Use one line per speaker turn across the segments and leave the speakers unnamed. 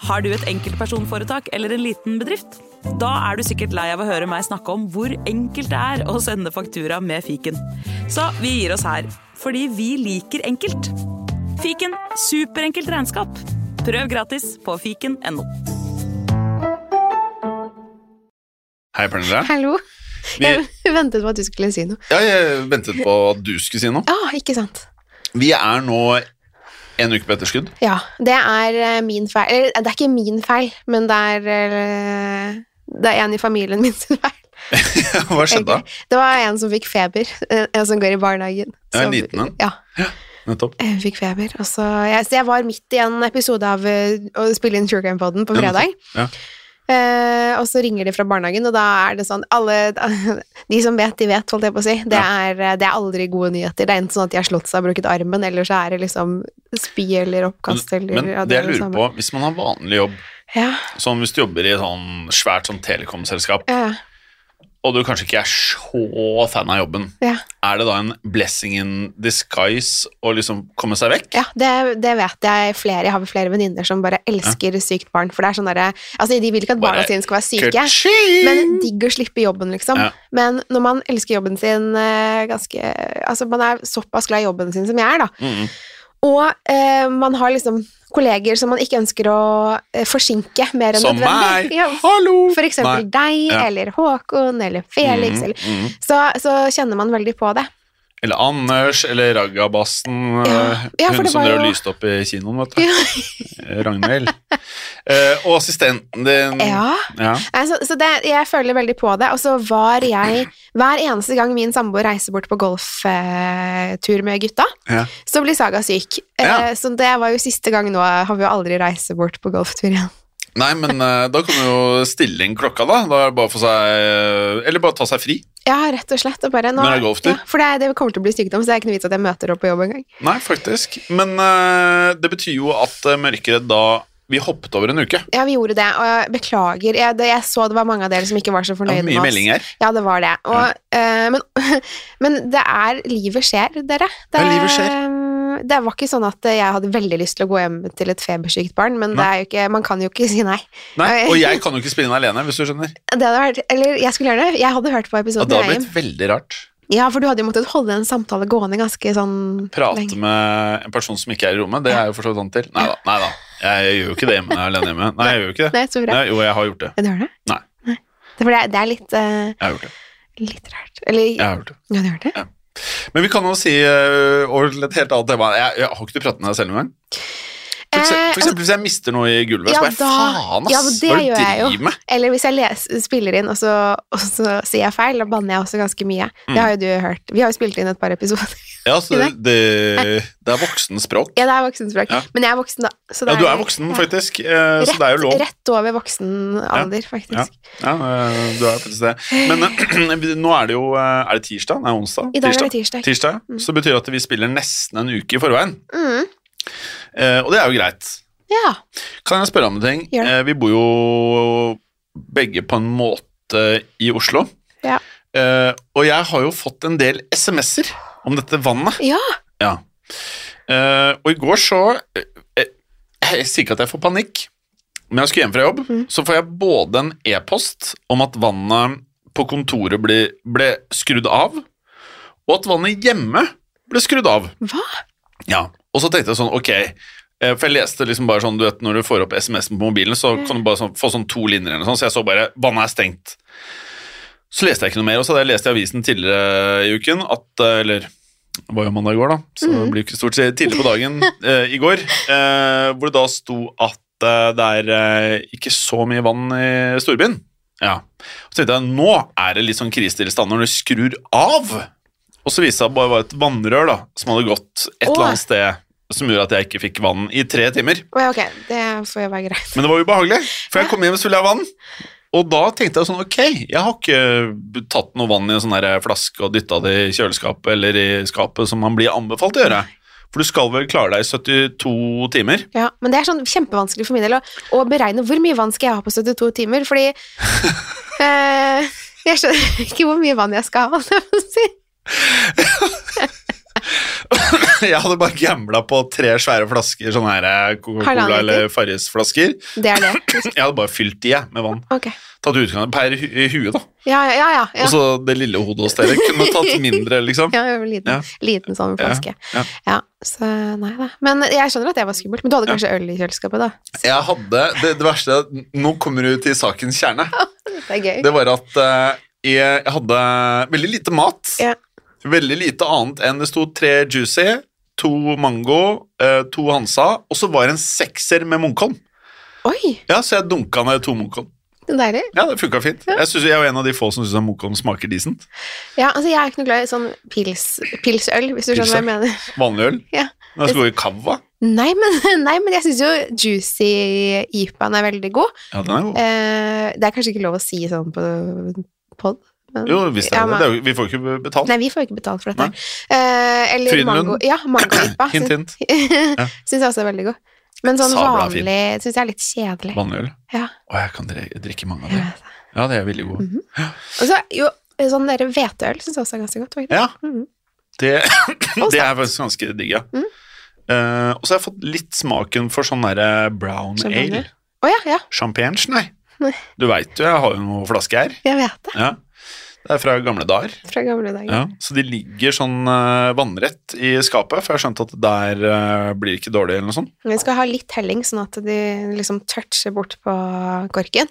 Har du et enkeltpersonforetak eller en liten bedrift? Da er du sikkert lei av å høre meg snakke om hvor enkelt det er å sende faktura med fiken. Så vi gir oss her, fordi vi liker enkelt. Fiken superenkelt regnskap. Prøv gratis på fiken.no.
Hei, Pernille.
Hallo.
Vi,
Jeg ventet på at du skulle si noe.
ja, jeg ventet på at du skulle si noe.
Ja, ikke sant.
Vi er nå en uke på etterskudd.
Ja, det er eh, min feil. Eller, det er ikke min feil, men det er eh, Det er en i familien min sin feil.
Hva skjedde da?
egentlig. Det var en som fikk feber. eh, En som går i barnehagen.
Ja, en
Som-
liten en.
Ja,
Nettopp.
hun fikk feber. Og så, jeg, så jeg var midt i en episode av eh, å spille inn True Crime Poden på
Ja, men
fredag.
ja.
Eh, og så ringer de fra barnehagen, og da er det sånn alle, De som vet, de vet, holdt jeg på å si. Det, er, eh, det er aldri gode nyheter. Det er enten sånn at de har slått seg og brukket armen, eller så er det liksom spy eller oppkast eller
Men
ja,
det
er
jeg lurer
samme.
på, hvis man har vanlig jobb,
Ja,
sånn hvis du jobber i et sånn svært sånn telekomselskap,
ja,
og du kanskje ikke er så fan av jobben,
ja.
er det da en blessing in disguise å liksom komme seg vekk?
Ja, det, det vet jeg flere. Jeg har flere venninner som bare elsker sykt barn. For det er sånn derre Altså, de vil ikke at barna
Bare
sine skal være syke.
Ka-ching!
Men digg å slippe jobben, liksom.
Ja.
Men når man elsker jobben sin eh, ganske Altså, man er såpass glad i jobben sin som jeg er, da.
Mhm.
Og eh, man har liksom kolleger som man ikke ønsker å eh, forsinke mer enn
Som
nødvendig.
meg!
Ja,
Hallo!
for eksempel
Nei.
deg,
Ja.
eller Håkon, eller Felix,
Mhm,
eller
mhm.
så, så kjenner man veldig på det.
Eller Anders, eller Ragabassen,
Ja.
eh,
Ja, for
hun
det
som
var
drev og
jo-
lyste opp i kinoen, vet du. Eh, Ragnhild. Eh, og assistenten din.
Ja.
Ja.
Nei, så så det, jeg føler veldig på det. Og så var jeg Hver eneste gang min samboer reiser bort på golftur med gutta,
Ja.
så blir Saga syk.
Ja.
Eh, så det var jo siste gang nå. Har vi jo aldri reise bort på golftur igjen.
Nei, men eh, da kan du jo stille inn klokka, da. Da er det bare å få seg eh, Eller bare ta seg fri.
Ja, rett og slett. Og bare, nå,
Når det er golftur?
Ja, for det, er- det kommer til å bli sykdom, så det er ikke noe vits at jeg møter opp på jobb engang.
Nei, faktisk. Men eh, det betyr jo at eh, Mørkeredd da Vi hoppet over en uke.
Ja, vi gjorde det, og jeg beklager. Jeg, det, jeg så det var mange av dere som ikke var så
Det
fornøyde
var mye meldinger.
Ja, det var det. Og, eh, men, men det er Livet skjer, dere. Det,
Ja, livet
Det var ikke sånn at jeg hadde veldig lyst til å gå hjem til et febersykt barn, men det er jo ikke, man kan jo ikke si nei.
Nei, og jeg kan jo ikke spille inn alene, hvis du skjønner.
Det hadde vært, eller jeg skulle gjerne Jeg hadde hørt på
Og det
episoden. jeg,
hadde blitt veldig rart.
Ja, for du hadde jo måttet holde en samtale gående ganske sånn
Prate
lenge.
med en person som ikke er i rommet, det er jeg jo for så vidt vant til. Nei da, nei da. Jeg gjør jo ikke det hjemme når jeg er alene hjemme. Nei, jeg gjør jo ikke det.
Nei, så bra.
Nei, jo, jeg har gjort det.
Ja, Du hører det?
Nei.
Det, er fordi det er litt, eh,
Jeg har gjort det.
litt rart. Eller
Jeg
ja.
har gjort det.
du hører det?
Men vi kan jo si øh, over til et helt annet tema. Jeg, jeg har ikke du pratet med deg selv engang? For, ekse-
Eh,
for eksempel hvis jeg mister noe i gulvet,
ja,
så bare
da-
faen,
ja,
ass!
det
hva er
gjør
det
jeg
du
jo.
driver med?
Eller hvis jeg les, spiller inn, og så, og så sier jeg feil, da banner jeg også ganske mye.
Mm.
Det har jo du hørt. Vi har jo spilt inn et par episoder.
Ja, så det, det, det er voksenspråk.
Ja, det er voksenspråk.
Ja.
Men jeg er voksen, da. Så
Ja, du er voksen,
ja.
faktisk, eh, så
Rett,
det er jo lov.
rett over voksen alder, faktisk.
Ja, eh, du er faktisk det. Men eh, nå er det jo eh, Er det tirsdag? Nei, onsdag?
I dag er det tirsdag.
tirsdag. Så betyr det at vi spiller nesten en uke i forveien.
Mm.
Eh, og det er jo greit.
Ja.
Kan jeg spørre om en ting?
Gjør det.
Eh, vi bor jo begge på en måte i Oslo.
Ja.
Eh, og jeg har jo fått en del SMS-er om dette vannet.
ja.
Ja. Eh, og i går så eh, Jeg sier ikke at jeg får panikk, men jeg skulle hjem fra jobb,
Mm.
så får jeg både en e-post om at vannet på kontoret ble, ble skrudd av, og at vannet hjemme ble skrudd av.
Hva?
Ja, og så tenkte jeg sånn, ok eh, For jeg leste liksom bare sånn, du vet Når du får opp sms'en på mobilen Så kan du bare sånn, få sånn to linjer eller noe sånt Så jeg så bare, vannet er stengt Så leste jeg ikke noe mer Og så hadde jeg lest i avisen tidligere i uken At, eh, eller det var jo mandag i går da Så det blir jo ikke stort sett tidlig på dagen eh, i går eh, Hvor det da sto at eh, Det er eh, ikke så mye vann i storbyen Ja Så tenkte jeg, nå er det litt sånn krisetilstand Når du skrur av og så viste det seg at det bare var et vannrør da, som hadde gått et
Åh.
eller annet sted som gjorde at jeg ikke fikk vann i tre timer.
Å, ja, Ok, det får jo være greit.
Men det var ubehagelig, for jeg kom hjem og så ville jeg ha vann. Og da tenkte jeg sånn, ok, jeg har ikke tatt noe vann i en sånn her flaske og dytta det i kjøleskapet eller i skapet som man blir anbefalt å gjøre. For du skal vel klare deg i 72 timer.
Ja, men det er sånn kjempevanskelig for min del å, å beregne hvor mye vann skal jeg ha på 72 timer, fordi eh, Jeg skjønner ikke hvor mye vann jeg skal ha, holdt jeg på å si.
Jeg hadde bare gambla på tre svære flasker sånne her eh, Coca-Cola
Halvannen liter.
eller Farris-flasker.
Det er det.
Jeg hadde bare fylt de jeg, med vann.
Ok.
Tatt utgangen per hu i huet, da.
Ja, ja, ja. ja.
Og så det lille hodet hos dere kunne tatt mindre, liksom.
Ja, jeg var liten,
Ja.
liten sånn
Ja,
flaske.
ja.
Ja, så nei da. Men jeg skjønner at det var skummelt. Men du hadde kanskje øl i kjøleskapet, da?
Jeg hadde Det, det verste er at Nå kommer du til sakens kjerne.
Det er gøy.
Det var at eh, jeg jeg hadde veldig lite mat.
Ja.
Veldig lite annet enn det sto tre Juicy, to Mango, eh, to Hansa, og så var det en sekser med Munkholm.
Oi,
Ja, så jeg dunka ned to Munkholm.
det er deilig.
Ja, det funka fint. Jeg, synes, jeg er jo en av de få som syns Munkholm smaker decent.
Ja, altså jeg er ikke noe glad i sånn pils, pilsøl, hvis du skjønner hva jeg mener.
Vanlig øl.
Ja.
Men jeg skulle jo i Cava.
Nei, men, nei, men jeg syns jo juicy IPA-en er veldig god.
Ja, den er god.
Eh, det er kanskje ikke lov å si sånn på pod? men-
Jo, visst er
Ja,
det
men-
det. er jo- Vi får jo ikke betalt.
Nei, vi får ikke betalt for dette. Eh, eller
Frydenlund.
mango. Ja, mango-IPA.
Hint, hint. Ja.
Syns jeg også er veldig god. Men sånn
Sabla fin.
vanlig syns jeg er litt kjedelig.
Vanlig øl.
Ja.
Å, jeg kan dre- drikke mange av
Jeg
dem.
vet det.
Ja, det er veldig god.
Og så jo, sånn der hveteøl syns jeg også er ganske godt. faktisk.
Ja,
Mhm.
det,
Og
det er faktisk ganske digg, ja.
Mm.
Eh, og så har jeg fått litt smaken for sånn derre brown
Champagne?
ale.
Å ja, ja.
Champagne, nei.
Nei.
Du veit jo, jeg har jo noen flasker her.
Jeg vet det
Ja. Det er fra gamle dager.
fra gamle dager.
Ja, så de ligger sånn eh, vannrett i skapet, for jeg har skjønt at der eh, blir det ikke dårlig eller noe sånt.
Vi skal ha litt helling, sånn at de liksom toucher bort på korken.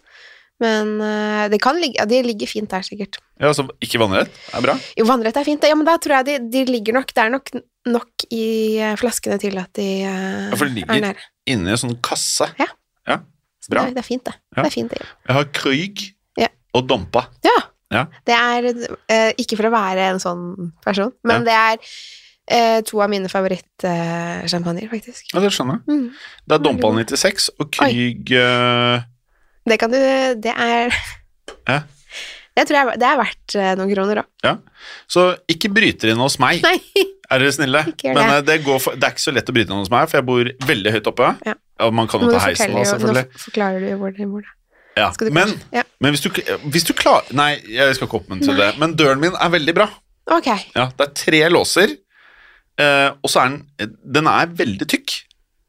Men eh, det kan ligge, ja, de ligger fint der, sikkert.
Ja, så ikke vannrett er bra.
Jo, vannrett er fint. Ja, men da tror jeg de, de ligger nok Det er nok nok i eh, flaskene til at de eh,
Ja, for de ligger
er nære.
Inni en sånn kasse.
Ja.
ja.
Så
Bra.
Det, det er fint, det.
Ja.
Det er fint, det.
Jeg har Krüg
Ja.
og Dompa.
Ja.
Ja.
Det er eh, ikke for å være en sånn person, men det er eh, to av mine favorittsjampanjer, faktisk.
Ja, det skjønner jeg.
Mm.
Det er Dompa 96 og Krüg eh,
Det kan du Det er
Ja.
Det tror jeg det er verdt eh, noen kroner òg.
Ja. Så ikke bryter inn hos meg,
Nei!
er dere snille.
Ikke gjør
Men eh,
det.
det, går for, det er ikke så lett å bryte inn hos meg, for jeg bor veldig høyt oppe.
Ja.
Og man kan
Nå,
jo
må du
ta heisen,
fortelle
da,
jo- nå
selvfølgelig.
f- forklarer du jo hvor det bor, da.
Ja.
Skal du
Men,
kanskje- ja.
men hvis du, hvis du klarer Nei, jeg skal ikke oppmuntre det, men døren min er veldig bra.
Ok.
Ja, det er tre låser, eh, og så er den Den er veldig tykk.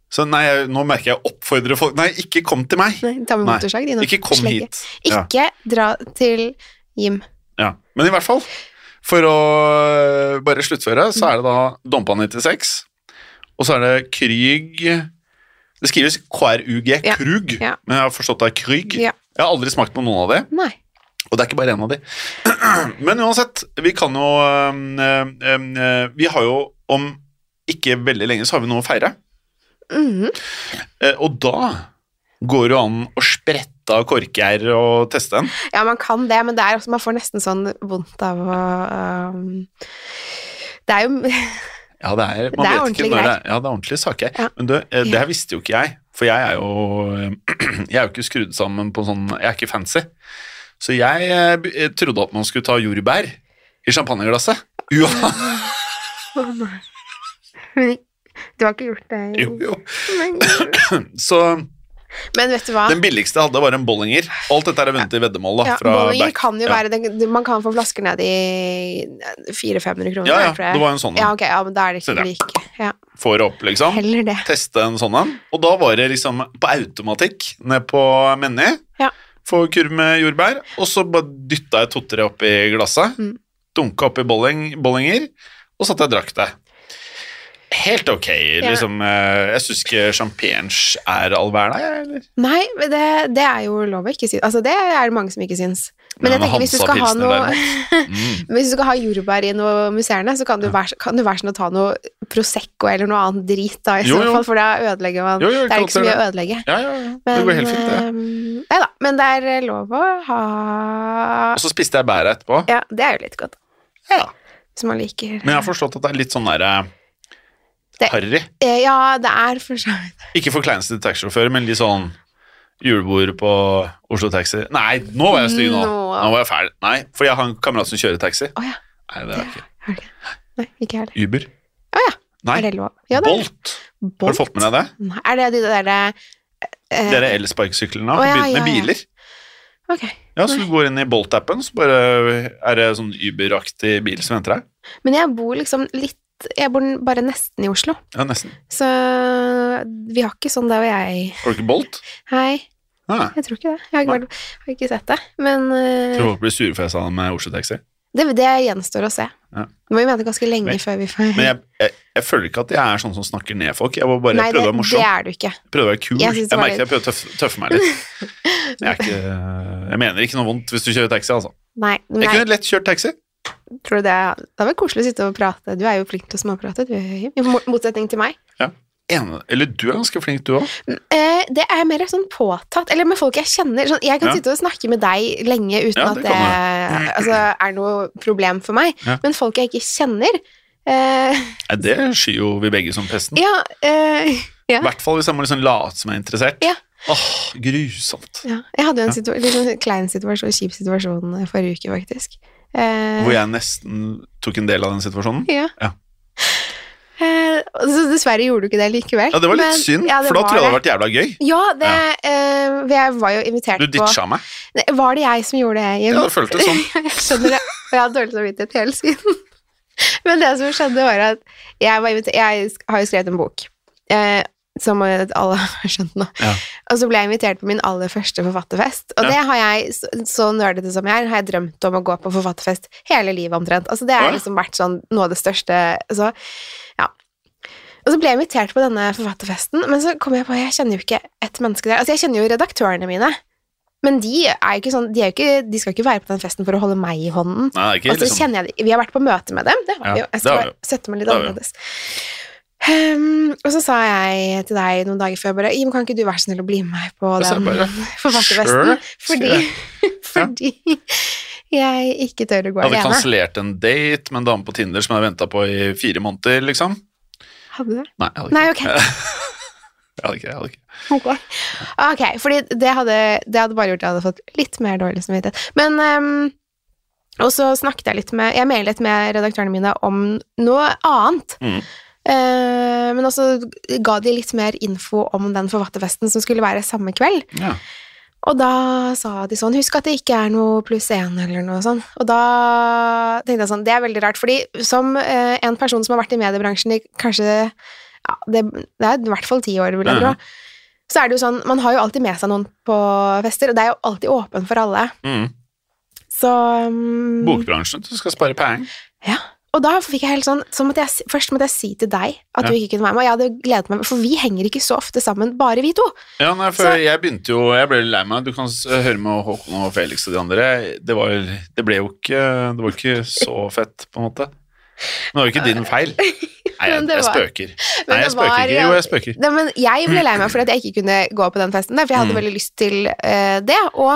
Så nei, jeg, nå merker jeg oppfordrer folk Nei, ikke kom til meg.
Nei, ta med
Nei,
motorsag, din. og
Ikke kom
slegge.
hit. Ja.
Ikke dra til Jim.
Ja, men i hvert fall For å øh, bare sluttføre Så er det da Dompa 96 Og så er det Kryg Det skrives K-R-U-G,
Ja,
Krug
ja.
Men jeg har forstått det er Kryg
Ja.
Jeg har aldri smakt på noen av det
Nei.
Og det er ikke bare en av de Men uansett, vi kan jo um, øhm, øhm, øh, Vi har jo om ikke veldig lenge Så har vi noe å feire
Mhm.
Eh, Og da går det jo an å sprette av korkgjær og teste den
Ja, man kan det, men det er også, man får nesten sånn vondt av å um, Det er jo
Ja, det er, man
Det
vet
er
ikke
ordentlige
når det
greier.
er, ja, det er ordentlige saker.
Ja.
Men du, eh, det
Ja.
her visste jo ikke jeg, for jeg er jo eh, Jeg er jo ikke skrudd sammen på sånn Jeg er ikke fancy. Så jeg eh, b- eh, trodde at man skulle ta jordbær i champagneglasset. Jo,
Du har ikke gjort det?
jo, jo.
Men,
Så
men vet du hva?
den billigste jeg hadde, var en bollinger. Alt dette er vunnet i veddemål, da.
Ja,
Fra
Bollinger
Back.
kan jo
Ja.
være den, du- Man kan få flasker ned i 400-500 kroner.
Ja, ja.
tror jeg.
Det var en sånn
ja,
en.
ok, ja, men da er det
Se
ikke
der.
like ja,
Får opp, liksom.
Heller det.
Teste en sånn en. Og da var det liksom på automatikk ned på Menny.
Ja.
Få kurv med jordbær, og så bare dytta jeg to-tre oppi glasset.
Mm.
Dunka oppi bolling, bollinger, og satt jeg og drakk det. Helt ok,
Ja.
liksom. eh, Jeg syns ikke champagne er all verden, jeg, eller?
Nei, men det, det er jo lov å ikke si Altså, det er det mange som ikke syns. Men
Nei,
jeg tenker hvis du skal ha
Hansa-pilsene
noe
derimot. Mm.
hvis du skal ha jordbær i noe musserende, så kan du være kan du være sånn å ta noe Prosecco eller noe annet drit, da, i
Jo,
så
jo.
fall, for da ødelegger man
Jo, jo,
Det er
klart
ikke så
det
mye
er
å ødelegge.
Ja, ja, ja.
Men,
Det går helt fint, det.
ehm, nei da, men det er eh, lov å ha
Og så spiste jeg bæret etterpå.
Ja, det er jo litt godt,
Ja.
hvis man liker
Men jeg har forstått at det er litt sånn derre
Det-
harry.
Eh, Ja, det er for så vidt
Ikke for kleineste taxisjåfør, men litt sånn julebord på Oslo Taxi. Nei, nå var jeg stygg nå.
Nå.
Nå var jeg fæl. Nei, for jeg har en kamerat som kjører taxi.
Å ja.
Nei, det er ikke
Har du ikke? Nei, ikke heller.
Uber.
Å ja.
Nei,
Er det lov? Ja, det er det.
Bolt. Har du fått med deg det?
Nei, er det de der eh,
Dere elsparkesyklene
Å
har
ja,
begynt med
ja, ja.
biler.
Ok.
Ja, så du går inn i Bolt-appen, så bare er det sånn Uber-aktig bil som venter deg.
Men jeg bor liksom litt Jeg bor n- bare nesten i Oslo,
Ja, nesten.
så vi har ikke sånn der hvor jeg
Har du ikke Bolt?
Hei,
Ah,
jeg tror ikke det. Jeg har ikke,
Nei.
vært, har ikke sett det. Men eh,
tror folk blir sure for jeg sa det med Oslo Taxi.
det, det gjenstår å se.
Ja.
Nå må vi vente ganske lenge
Men-
før vi får
Men jeg, jeg, jeg føler ikke at jeg er sånn som snakker ned folk. Jeg var bare
Nei,
prøvde å
det,
være
det
morsom.
er du ikke.
Prøvde å være kul.
Jeg
Jeg,
synes det var
merker jeg prøvde å tøffe, tøffe meg litt. Jeg, er ikke, jeg mener ikke noe vondt hvis du kjører taxi, altså.
Nei,
Jeg
nei
kunne lett kjørt taxi.
tror du det er Det er vel koselig å sitte og prate. Du er jo flink til å småprate, du, Jim. I mo- motsetning til meg.
Ene, eller du er ganske flink, du òg.
Eh, det er mer sånn påtatt, eller med folk jeg kjenner. Sånn, jeg
Ja.
kan sitte og snakke med deg lenge uten
Ja,
at
det
det altså, er noe problem for meg.
Ja.
Men folk jeg ikke kjenner eh,
Det skyer jo vi begge som pesten.
Ja. Eh,
I hvert fall hvis jeg må liksom late som jeg er interessert.
Ja.
Åh, grusomt.
ja. Jeg hadde jo
Ja.
en situ litt sånn klein situasjon, kjip situasjon eh, forrige uke, faktisk. Eh,
Hvor jeg nesten tok en del av den situasjonen.
Ja.
Ja.
Eh, så dessverre gjorde du ikke det likevel.
Ja, Det var litt
men-
synd,
ja, det
for da
var
tror jeg det hadde vært jævla gøy.
Ja, det, eh, for jeg var jo invitert
Du
på
ditcha meg.
Nei, Var det jeg som gjorde det, Jim?
Ja, det føltes sånn.
jeg skjønner det, og jeg har dårlig samvittighet hele tiden. Men det som skjedde, var at jeg, var invitert, jeg sk- har jo skrevet en bok, eh, som alle har skjønt nå.
Ja.
Og så ble jeg invitert på min aller første forfatterfest. Og
Ja.
det har jeg, så- så nerdete som jeg er, har jeg drømt om å gå på forfatterfest hele livet omtrent. Altså det
Ja.
har liksom vært sånn noe av det største. Så, ja. Og så ble jeg invitert på denne forfatterfesten, men så kom jeg på, jeg kjenner jo ikke et menneske der. Altså jeg kjenner jo redaktørene mine. Men de er jo ikke sånn, de, er jo ikke, de skal ikke være på den festen for å holde meg i
Nei,
hånden.
det er ikke
Og så
liksom.
Altså, kjenner jeg de. Vi har vært på møte med dem. Det har
Ja,
vi jo. Jeg
det
skal
har vi jo.
bare sette meg litt
Det har vi jo.
annerledes. Ehm, og så sa jeg til deg noen dager før bare Jim, kan ikke du være så snill å bli med meg på
Og så er
den
jeg bare,
forfatterfesten?
sure, skal
Fordi, fordi jeg ikke tør å gå
Jeg hadde
alene.
kansellert en date med en dame på Tinder som jeg hadde venta på i fire måneder, liksom.
Hadde du det?
Nei, jeg hadde ikke.
Nei, ok.
Jeg hadde ikke, jeg hadde ikke.
Ok, Ok, fordi det hadde, det hadde bare gjort at jeg hadde fått litt mer dårlig samvittighet. Men ehm, Og så snakket jeg litt med Jeg mailet med redaktørene mine om noe annet.
Mm.
Eh, men også ga de litt mer info om den forfatterfesten som skulle være samme kveld.
Ja.
Og da sa de sånn Husk at det ikke er noe pluss én, eller noe sånn. Og da tenkte jeg sånn Det er veldig rart, fordi som eh, en person som har vært i mediebransjen i kanskje ja, det, det er i hvert fall ti år, vil jeg tro.
Mhm.
Så er det jo sånn, Man har jo alltid med seg noen på fester, og det er jo alltid åpen for alle.
Mm.
Så mm,
Bokbransjen, du skal spare penger.
Ja. Og da fikk jeg helt sånn så måtte jeg, si- Først måtte jeg si til deg
Ja.
at du ikke kunne være med. Og jeg hadde gledet meg, for vi henger ikke så ofte sammen, bare vi to.
Ja, nei, for
Så-
jeg begynte jo Jeg ble lei meg. Du kan s- høre med Håkon og Felix og de andre. Det, var, det ble jo ikke Det var ikke så fett, på en måte. Men det var jo ikke din feil. Nei, jeg,
Men det
jeg
var-
spøker.
Men
Nei, jeg
det var
spøker ikke.
jo-
Jo, jeg spøker.
Nei, men jeg ble lei meg fordi at jeg ikke kunne gå på den festen der, for jeg hadde
Mm.
veldig lyst til eh, det. Og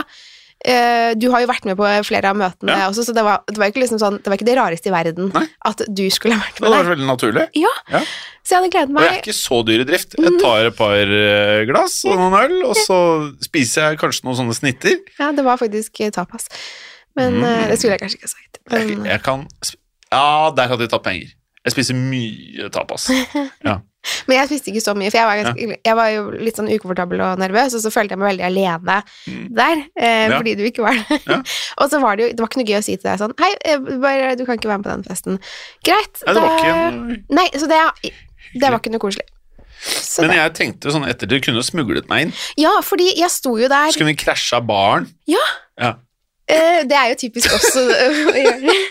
eh, du har jo vært med på flere av møtene
Ja.
også, så det var, det, var ikke liksom sånn, det var ikke det rareste i verden
Nei.
at du skulle ha vært
Det
med
var
der.
veldig naturlig.
Så jeg hadde gledet
Og jeg er
meg.
ikke så dyr i drift. Jeg tar et par eh, glass og noen øl, og så spiser jeg kanskje noen sånne snitter.
Ja, det var faktisk eh, tapas. Men
Mm.
eh, det skulle jeg kanskje ikke ha sagt. Um,
Jeg,
Men,
jeg kan sp- Ja, der hadde de tatt penger. Jeg spiser mye tapas.
men jeg spiste ikke så mye, for jeg var, ganske, jeg var jo litt sånn ukomfortabel og nervøs, og så følte jeg meg veldig alene
Mm.
der, eh,
Ja.
fordi du ikke var der.
Ja.
og så var det jo det var ikke noe gøy å si til deg sånn Hei, eh, bare, du kan ikke være med på den festen. Greit.
Nei, det var
da-
ikke en
Nei, så det, det var ikke noe koselig. Så
Men
det,
jeg tenkte sånn etter det kunne jo smuglet meg inn.
ja, fordi jeg sto jo der
Så kunne vi krasja baren.
Ja.
ja.
eh, Det er jo typisk oss å å gjøre.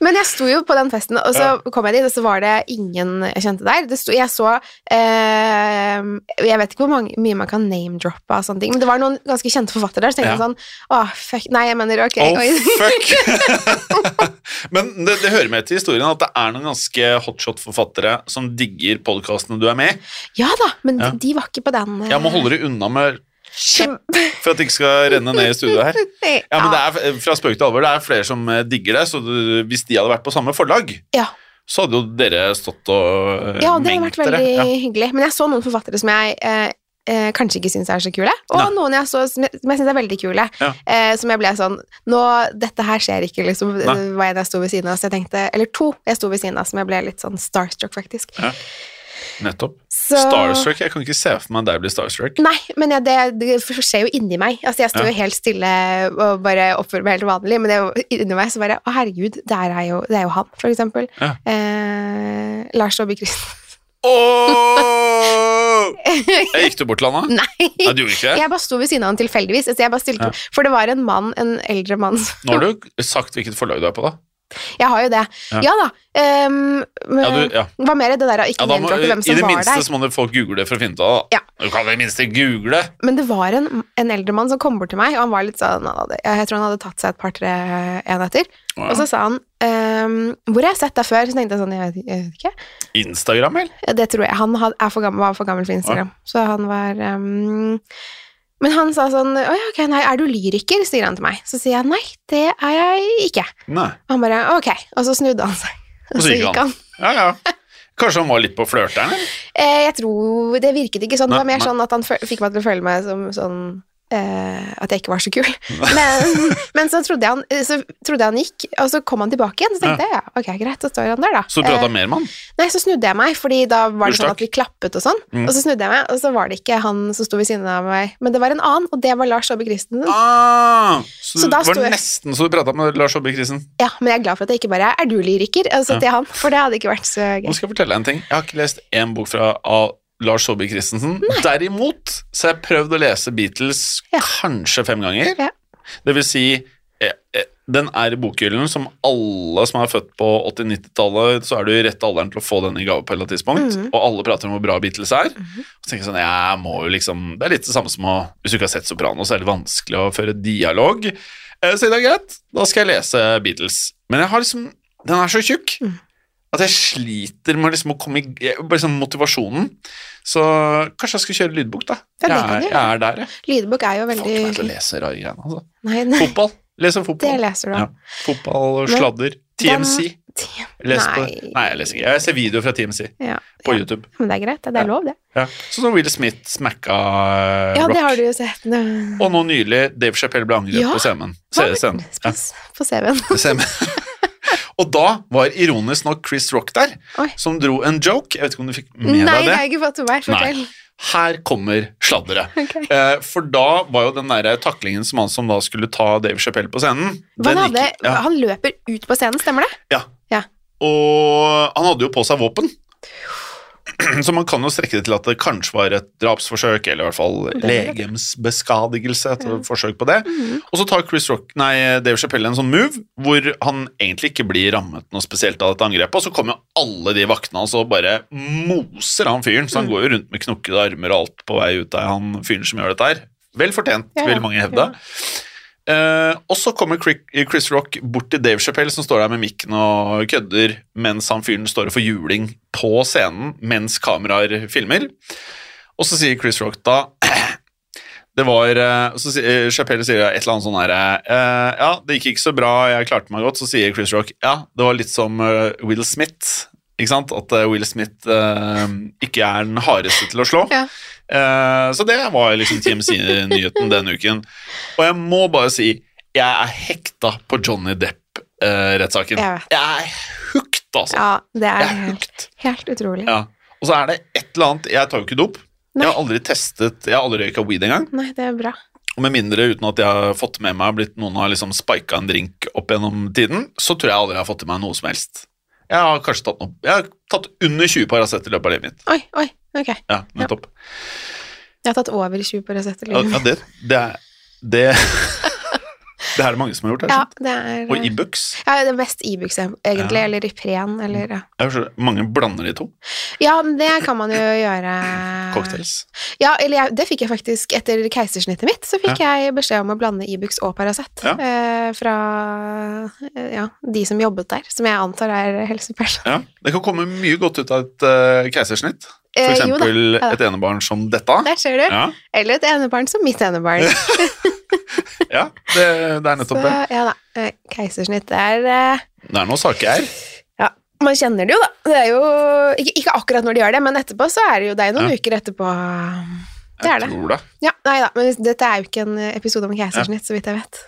Men jeg sto jo på den festen, og så kom jeg dit, og så var det ingen jeg kjente der. Det sto, jeg så eh, Jeg vet ikke hvor mange, mye man kan name-droppe av sånne ting, men det var noen ganske kjente forfattere der, så tenkte jeg
Ja.
sånn Åh, fuck Nei, jeg mener ok.
Oh,
oi.
fuck! Men det, det hører med til historien at det er noen ganske hotshot-forfattere som digger podkastene du er med i.
Ja da, men
Ja.
de, de var ikke på den. eh,
Jeg må holde deg unna med
kjem-
for at det ikke skal renne ned i studioet her. Ja, men
Ja.
det er, Fra spøk til alvor, det er flere som eh, digger det, så du, hvis de hadde vært på samme forlag,
Ja.
så hadde jo dere stått og eh,
Ja, det har
mengt
vært veldig
dere. Ja.
hyggelig. Men jeg så noen forfattere som jeg eh, eh, kanskje ikke syns er så kule, og
Nei.
noen jeg så som jeg, som jeg syns er veldig kule.
Ja.
Eh, som jeg ble sånn Nå, dette her skjer ikke, liksom.
Nei.
Det var en jeg sto ved siden av, så jeg tenkte Eller to jeg sto ved siden av, som jeg ble litt sånn starstruck, faktisk.
Ja. Nettopp.
Så-
Starstruck, jeg kan ikke se for meg deg bli starstruck.
Nei, men jeg, det, det skjer jo inni meg. Altså, jeg sto
Ja.
jo helt stille og bare oppførte meg helt vanlig, men det var inni meg så bare Å, herregud, der er jo, det er jo han, for eksempel.
Ja.
Eh, Lars Saabye Christensen.
Åh! Jeg gikk du bort til han da?
Nei!
Nei, du gjorde ikke det.
Jeg bare sto ved siden av han tilfeldigvis. Altså, jeg bare stilte,
Ja.
For det var en mann, en eldre mann som-
Nå har du sagt hvilket forlag du er på, da.
Jeg har jo det.
Ja.
Ja, da. Um, men,
Ja, du, ja.
Hva mer er det der å ikke
Ja, da må,
nevne
I
hvem som
det
var
minste
der?
så må dere folk google for å finne ut av det. da. Du kan i det minste google!
Men det var en, en eldre mann som kom bort til meg, og han var litt sånn han hadde, Jeg tror han hadde tatt seg et par-tre enheter.
Å,
Og
ja.
så sa han ehm, Hvor har jeg sett deg før? Så tenkte jeg sånn, jeg vet, jeg vet ikke.
Instagram, vel?
Det tror jeg. Han had, er for gammel, var for gammel for Instagram. Så han var ehm, Men han sa sånn Å ja, ok, nei, er du lyriker? sier han til meg. Så sier jeg nei, det er jeg ikke.
Nei.
Og han bare ok. Og så snudde han seg.
Og så gikk han. Ja, ja. Kanskje han var litt på flørteren? eller?
Eh, jeg tror Det virket ikke sånn. Det
Nei,
var mer
nei.
sånn at han føl- fikk meg til å føle meg som sånn eh, At jeg ikke var så kul. Men, men så, trodde jeg han, eh, så trodde jeg han gikk, og så kom han tilbake igjen. Så tenkte jeg ja, ok, greit, så står han der, da.
Så du
Eh,
prata mer med han?
Nei, så snudde jeg meg, fordi da var det
Du stakk.
sånn at vi klappet og sånn.
Mm.
Og så snudde jeg meg, og så var det ikke han som sto ved siden av meg, men det var en annen, og det var Lars Saabye Christensen.
Ah, så,
Så
det
da
var
sto jeg-
nesten så du prata med Lars Saabye Christensen.
Ja, men jeg er glad for at jeg ikke bare er du lyriker, altså til han, for det hadde ikke vært så
Nå
gøy.
skal jeg fortelle deg en ting. Jeg har ikke lest én bok fra av Lars Saabye Christensen. Derimot så har jeg prøvd å lese Beatles
Ja.
kanskje fem ganger.
Ja.
Det vil si eh, eh, den er i bokhyllen som alle som er født på 80-90-tallet, så er du i rett alderen til å få den i gave på et eller annet tidspunkt.
Mhm.
Og alle prater om hvor bra Beatles er. Så tenker jeg sånn, jeg må jo liksom Det er litt det samme som å Hvis du ikke har sett Soprano, så er det vanskelig å føre dialog. Eh, Så det er greit, da skal jeg lese Beatles. Men jeg har liksom Den er så tjukk
Mm.
at jeg sliter med liksom å komme i jeg- bare sånn motivasjonen. Så kanskje jeg skal kjøre lydbok, da. jeg,
Ja, det kan
er,
du
jeg er der, jeg.
Lydbok er
Får ikke
jo
meg til å
veldig
lese rare greiene, altså.
Nei, nei,
Fotball. Lese
det
fotball.
leser du.
Ja. Fotball,
Men
sladder. TMC.
Tja,
Les på
nei.
det. Nei, jeg leser ikke. Jeg ser videoer fra TMC
Ja.
på
Ja.
YouTube.
Men det er greit, det er lov, det.
Ja. Sånn som Will Smith smakka eh,
Ja,
rock.
det har du jo sett. nå.
Og nå nylig Dave Chappelle ble angrepet
Ja.
på scenen.
Hva var
Seriescenen.
På, på CV-en.
Ja, scenen. Og da var ironisk nok Chris Rock der,
Oi.
som dro en joke. Jeg vet ikke om du fikk med
Nei, det
deg det?
har jeg ikke fått med meg. Fortell.
Nei. Her kommer sladderet.
Ok.
Eh, for da var jo den der taklingen som han som da skulle ta Dave Chappelle på scenen
Han,
den
hadde,
gikk- ja,
han løper ut på scenen, stemmer det?
ja.
Ja.
Og han hadde jo på seg våpen. Så man kan jo strekke det til at det kanskje var et drapsforsøk, eller i hvert fall
Det er det. Mhm.
legemsbeskadigelse, et forsøk på det. Og så tar Chris Rock, nei, Dave Chappelle en sånn move hvor han egentlig ikke blir rammet noe spesielt av dette angrepet, og så kommer jo alle de vaktene hans og bare moser han fyren,
Mm.
så han går jo rundt med knokkede armer og alt på vei ut av han fyren som gjør dette her. Vel fortjent,
Ja, ja.
vil mange hevde. Eh, og så kommer Cri- Chris Rock bort til Dave Chappelle, som står der med mikken og kødder, mens han fyren står og får juling på scenen mens kameraer filmer. Og så sier Chris Rock da Det var eh, Så sier eh, Chappelle sier et eller annet sånn her eh, Ja, det gikk ikke så bra, jeg klarte meg godt. Så sier Chris Rock ja, det var litt som eh, Will Smith. Ikke sant? At eh, Will Smith eh, ikke er den hardeste til å slå.
Ja.
Eh, så det var liksom TMC-nyheten denne uken. Og jeg må bare si jeg er hekta på Johnny Depp-rettssaken.
Jeg vet.
jeg er hooked, altså.
Ja, det
jeg
er
er
helt,
hooked.
helt utrolig.
Ja. Og så er det et eller annet Jeg tar jo ikke dop.
Nei.
Jeg har aldri testet Jeg har aldri røyka weed engang.
Nei, det er bra.
Og med mindre uten at jeg har fått med meg blitt noen har liksom spika en drink opp gjennom tiden, så tror jeg aldri jeg har fått i meg noe som helst. Jeg har kanskje tatt noe Jeg har tatt under 20 Paracet i løpet av livet mitt.
Oi, oi, ok.
Ja, nettopp.
Jeg har tatt over 20 på resetter.
Ja, ja, det, det er det, det er det mange som har gjort. Er det
Ja,
sant?
det er
Og Ibux.
ja, det er mest Ibux, egentlig,
Ja.
eller Ipren, eller ja.
Mange blander de to.
ja, men det kan man jo gjøre.
Cocktails.
Ja, eller jeg, det fikk jeg faktisk etter keisersnittet mitt, så fikk jeg beskjed om å blande Ibux og Paracet
Ja.
eh, fra eh, ja, de som jobbet der, som jeg antar er helsepersonell.
Ja, det kan komme mye godt ut av et eh, keisersnitt. For
Eh, jo da,
eksempel
ja da.
et enebarn som dette.
Der ser du.
Ja,
Eller et enebarn som mitt enebarn.
ja det, det er
Så
nettopp det.
ja da, eh, keisersnitt er eh,
Det er noen saker her.
Ja, man kjenner det jo, da. Det er jo ikke, ikke akkurat når de gjør det, men etterpå så er det jo Det er jo noen
Ja.
uker etterpå. Det
Jeg
er det.
tror det.
Ja, nei da, men dette er jo ikke en episode om keisersnitt, så vidt jeg vet.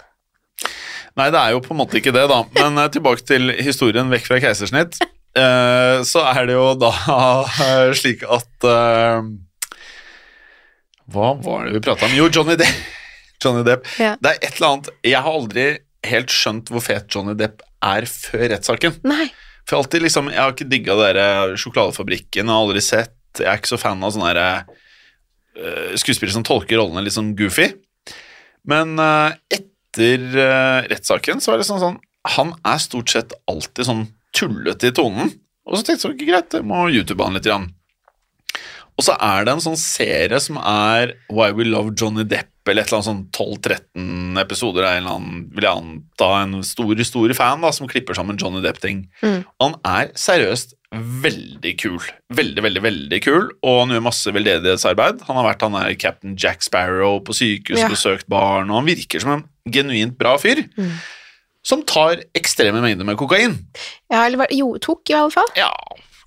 Nei, det er jo på en måte ikke det, da. Men eh, tilbake til historien vekk fra keisersnitt. eh, så er det jo da eh, slik at eh, Hva var det vi prata om? Jo, Johnny Depp. Johnny Depp.
Ja.
Det er et eller annet Jeg har aldri helt skjønt hvor fet Johnny Depp er før rettssaken.
Nei.
For jeg, har alltid, liksom, jeg har ikke digga dere eh, sjokoladefabrikken, jeg har aldri sett Jeg er ikke så fan av sånne der, eh, skuespillere som tolker rollene litt sånn goofy. Men eh, etter eh, rettssaken så var det sånn sånn Han er stort sett alltid sånn tullete i tonen. Og så tenkte jeg ikke greit, jeg må YouTube han litt. Grann. Og så er det en sånn serie som er Why We Love Johnny Depp, eller et eller annet sånn 12-13 episoder av en eller annen, vil jeg anta, en stor, stor fan da, som klipper sammen Johnny Depp-ting.
Mm.
Han er seriøst veldig kul. Veldig, veldig, veldig kul, og han gjør masse veldedighetsarbeid. Han har vært han er Captain Jack Sparrow på sykehus,
Ja.
besøkt barn, og han virker som en genuint bra fyr.
Mm.
Som tar ekstreme mengder med kokain.
Ja, eller hva Jo, tok, i alle fall.
Ja,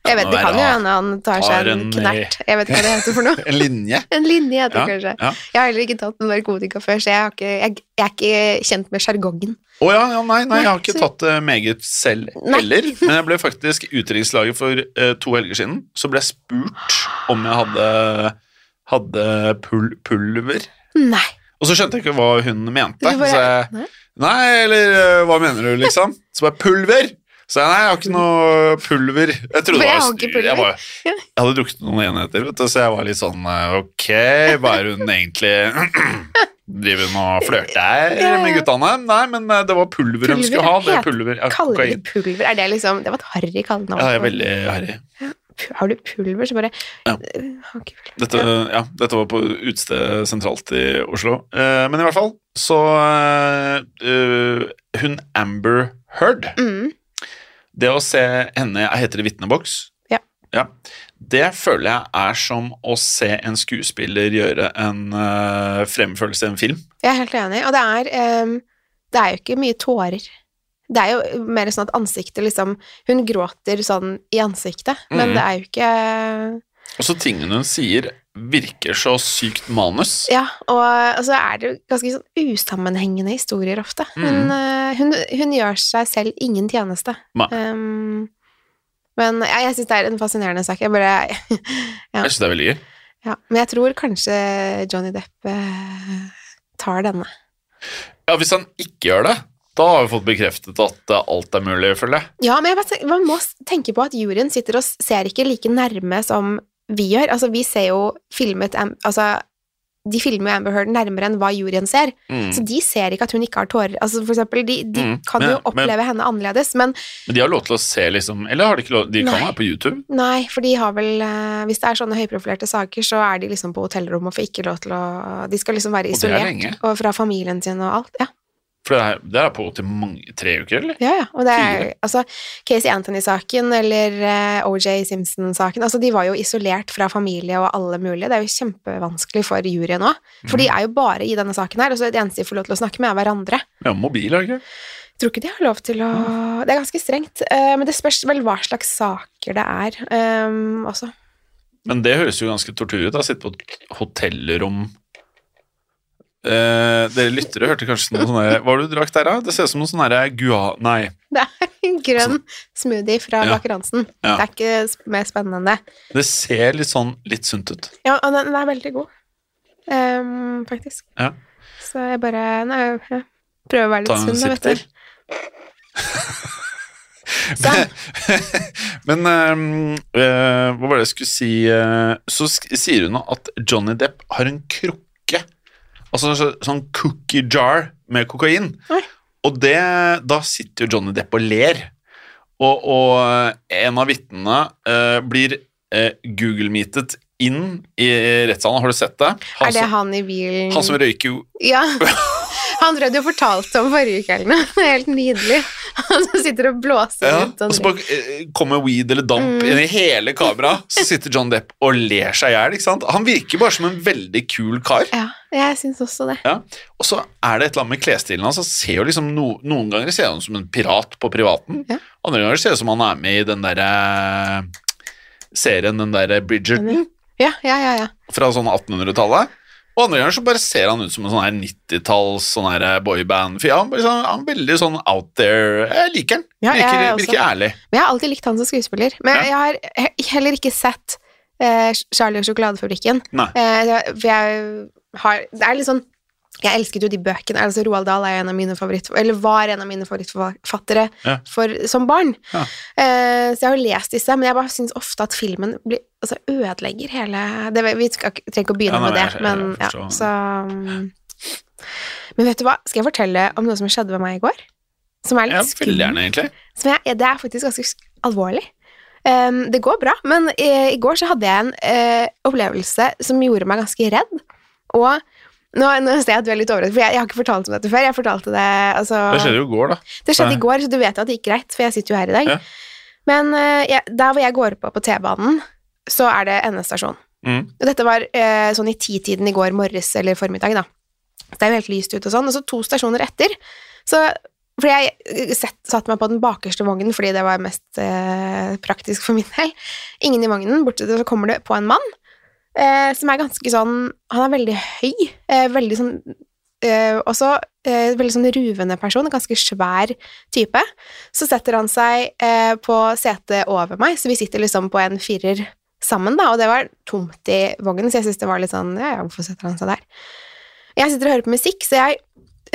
Jeg vet,
må
det
være
kan jo hende han tar seg
Har
en
en-
knert. Jeg vet ikke hva det heter for noe.
en linje.
En linje heter
Ja,
det kanskje.
ja.
Jeg har heller ikke tatt noe narkotika før, så jeg, har ikke, jeg, jeg er ikke kjent med sjargongen.
Å ja, ja, nei, nei, jeg har ikke
Nei, så-
tatt det meget selv
Nei.
heller. Men jeg ble faktisk i utdrikningslaget for eh, to helger siden. Så ble jeg spurt om jeg hadde, hadde pul pulver.
Nei.
Og så skjønte jeg ikke hva hun mente.
Du bare-
så jeg,
nei.
nei. eller eh, hva mener du, liksom? Så bare pulver! Så jeg nei, jeg har ikke noe pulver. Jeg trodde
For
det
jeg
var
har
styr.
ikke pulver.
Jeg, var, jeg hadde drukket noen enheter, vet du, så jeg var litt sånn eh, ok, hva er hun egentlig Driver hun og flørter
Ja, ja.
med guttene? Nei, men eh, det var pulver,
Pulver
hun skulle ha. Det
het-
er pulver. Ja,
Kaller de
kokain.
pulver? Er det liksom Det var et harry kallenavn.
Ja, jeg er veldig harry.
Pu- Har du pulver, så bare
Ja.
Øh, har ikke pulver.
Dette,
Ja.
ja, dette var på utested sentralt i Oslo. Eh, men i hvert fall, så eh, eh, Hun Amber Heard
Mm.
Det å se henne jeg Heter det vitneboks?
Ja.
Det føler jeg er som å se en skuespiller gjøre en eh, fremførelse i en film.
Jeg er helt enig. Og det er ehm, Det er jo ikke mye tårer. Det er jo mer sånn at ansiktet liksom Hun gråter sånn i ansiktet, men
Mhm.
det er jo ikke
Også tingene hun sier, virker så sykt manus.
Ja, og, og så er det jo ganske sånn usammenhengende historier ofte. Hun,
Mhm.
eh, hun, hun gjør seg selv ingen tjeneste.
Nei.
Ehm, men jeg, jeg syns det er en fascinerende sak. Jeg bare ja.
Jeg synes det er veldig gøy.
ja. Men jeg tror kanskje Johnny Depp eh, tar denne.
Ja, Hvis han ikke gjør det, da har vi fått bekreftet at eh, alt er mulig, føler jeg.
Ja, men jeg bare, tenker- man må s- tenke på at juryen sitter og s- ser ikke like nærme som vi gjør. Altså, vi ser jo filmet Am- Altså, de filmer jo Amber Heard nærmere enn hva juryen ser.
Mm.
Så de ser ikke at hun ikke har tårer. Altså, for eksempel, de, de
Mm,
kan
men-
jo oppleve henne annerledes, men
Men de har lov til å se, liksom Eller har de ikke lov De kan
Nei.
være på YouTube.
nei, for de har vel eh, Hvis det er sånne høyprofilerte saker, så er de liksom på hotellrom og får ikke lov til å De skal liksom være
Og det er
isolert.
lenge.
Og fra familien sin og alt. Ja,
For det er, det er på til mange tre uker, eller?
ja. ja. Og det er
Tidligere.
altså Casey Anthony-saken eller eh, OJ Simpson-saken Altså, de var jo isolert fra familie og alle mulige. Det er jo kjempevanskelig for juryen òg. For
Mm.
de er jo bare i denne saken her, og så det eneste de får lov til å snakke med, er hverandre.
Ja, mobil, har de ikke?
Tror ikke de har lov til å Det er ganske strengt. eh, Men det spørs vel hva slags saker det er ehm, også.
Men det høres jo ganske tortur ut, da. Sitte på et hotellrom eh, Dere lyttere hørte kanskje noe sånn der Hva var det du drakk der, da? Det ser ut som noe sånn derre gua... Nei.
Det er en grønn smoothie fra
Ja.
Baker Hansen.
Ja.
Det er ikke sp- mer spennende enn det.
Det ser litt sånn litt sunt ut.
Ja, og den, den er veldig god, ehm, faktisk.
Ja.
Så jeg bare nei, jeg prøver å være litt
Ta
sunn.
en sipp
da, vet du.
til.
Sånn.
Men eh, eh, hva var det jeg skulle si eh, Så sk sier hun at Johnny Depp har en krukke. Altså en så- sånn cookie jar med kokain.
Oi.
Og det, da sitter jo Johnny Depp og ler. Og, og eh, en av vitnene eh, blir eh, Google-meetet inn i rettssalen. Har du sett det? Han,
Er det
som,
han i bilen
Altså- han som røyker jo
Ja. Han tror jeg du fortalte om forrige uke eller noe. Det er Helt nydelig. Han som sitter og blåser
Ja,
rundt.
og så bare eh, kommer weed eller damp
Mm.
inn i hele kameraet, så sitter John Depp og ler seg i hjel. ikke sant? Han virker bare som en veldig kul kar.
ja, jeg syns også det.
Ja. Og så er det et eller annet med klesstilen hans. Han ser jo liksom no, Noen ganger ser han ut som en pirat på privaten.
Ja.
Andre ganger ser det ut som han er med i den derre serien, den eh, derre Bridgerton
Ja, ja, ja. ja.
fra sånn 1800-tallet. Og andre ganger så bare ser han ut som en sånn her 90-talls sånn her boyband. For ja, han, er liksom, han er veldig sånn out there. Jeg liker han.
Ja, jeg
virker,
også.
virker ærlig.
Men jeg har alltid likt han som skuespiller. Men
Ja.
jeg har he- heller ikke sett eh, Charlie og sjokoladefabrikken.
Nei.
Eh, jeg- for jeg har Det er litt sånn jeg elsket jo de bøkene. altså Roald Dahl er en av mine favoritt, eller var en av mine favorittforfattere
Ja.
for, som barn.
Ja.
Eh, så jeg har jo lest disse, men jeg bare syns ofte at filmen blir, altså, ødelegger hele det, Vi skal, ikke- trenger ikke å begynne
Ja, nei,
med det,
jeg- jeg
men ja,
forstår.
så mm. Men vet du hva, skal jeg fortelle om noe som skjedde med meg i går? Som er
Ja,
litt
veldig
skummelt.
gjerne, egentlig.
Som jeg, det er faktisk ganske sk- alvorlig. Ehm, det går bra, men i, i går så hadde jeg en eh, opplevelse som gjorde meg ganske redd. Og nå, nå ser jeg at du er litt overrasket, for jeg, jeg har ikke fortalt om dette før. Jeg fortalte det, altså,
Det skjedde jo i går, da.
det skjedde
Nei.
i går, så du vet jo at det gikk greit, for jeg sitter jo her i dag.
Ja.
Men eh, jeg, der hvor jeg går på på T-banen, så er det endestasjon.
Mm.
Og dette var eh, sånn i titiden i går morges eller formiddag, da. Det er jo helt lyst ute og sånn. Og så to stasjoner etter, så For jeg eh, sett, satte meg på den bakerste vognen fordi det var mest eh, praktisk for min del. Ingen i vognen. Bortsett fra så kommer det på en mann eh, som er ganske sånn Han er veldig høy. Eh, veldig sånn eh, Også eh, veldig sånn ruvende person. Ganske svær type. Så setter han seg eh, på setet over meg, så vi sitter liksom på en firer sammen, da, og det var tomt i vognen, så jeg syntes det var litt sånn ja, ja, Hvorfor setter han seg der? Jeg sitter og hører på musikk, så jeg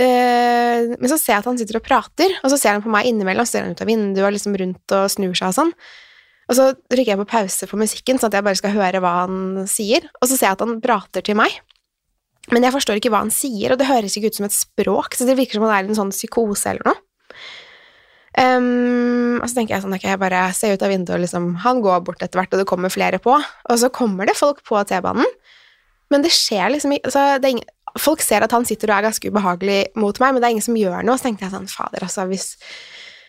øh, Men så ser jeg at han sitter og prater, og så ser han på meg innimellom, så ser han ut av vinduet og liksom rundt og snur seg og sånn. Og så trykker jeg på pause på musikken, sånn at jeg bare skal høre hva han sier, og så ser jeg at han prater til meg. Men jeg forstår ikke hva han sier, og det høres ikke ut som et språk, så det virker som han er i en sånn psykose eller noe. Ehm, og så tenker jeg sånn, ok, jeg bare ser ut av vinduet, og liksom, han går bort etter hvert, og det kommer flere på, og så kommer det folk på T-banen, men det skjer liksom ikke, altså, det er ingen, folk ser at han sitter og er ganske ubehagelig mot meg, men det er ingen som gjør noe, så tenkte jeg sånn, fader, altså, hvis,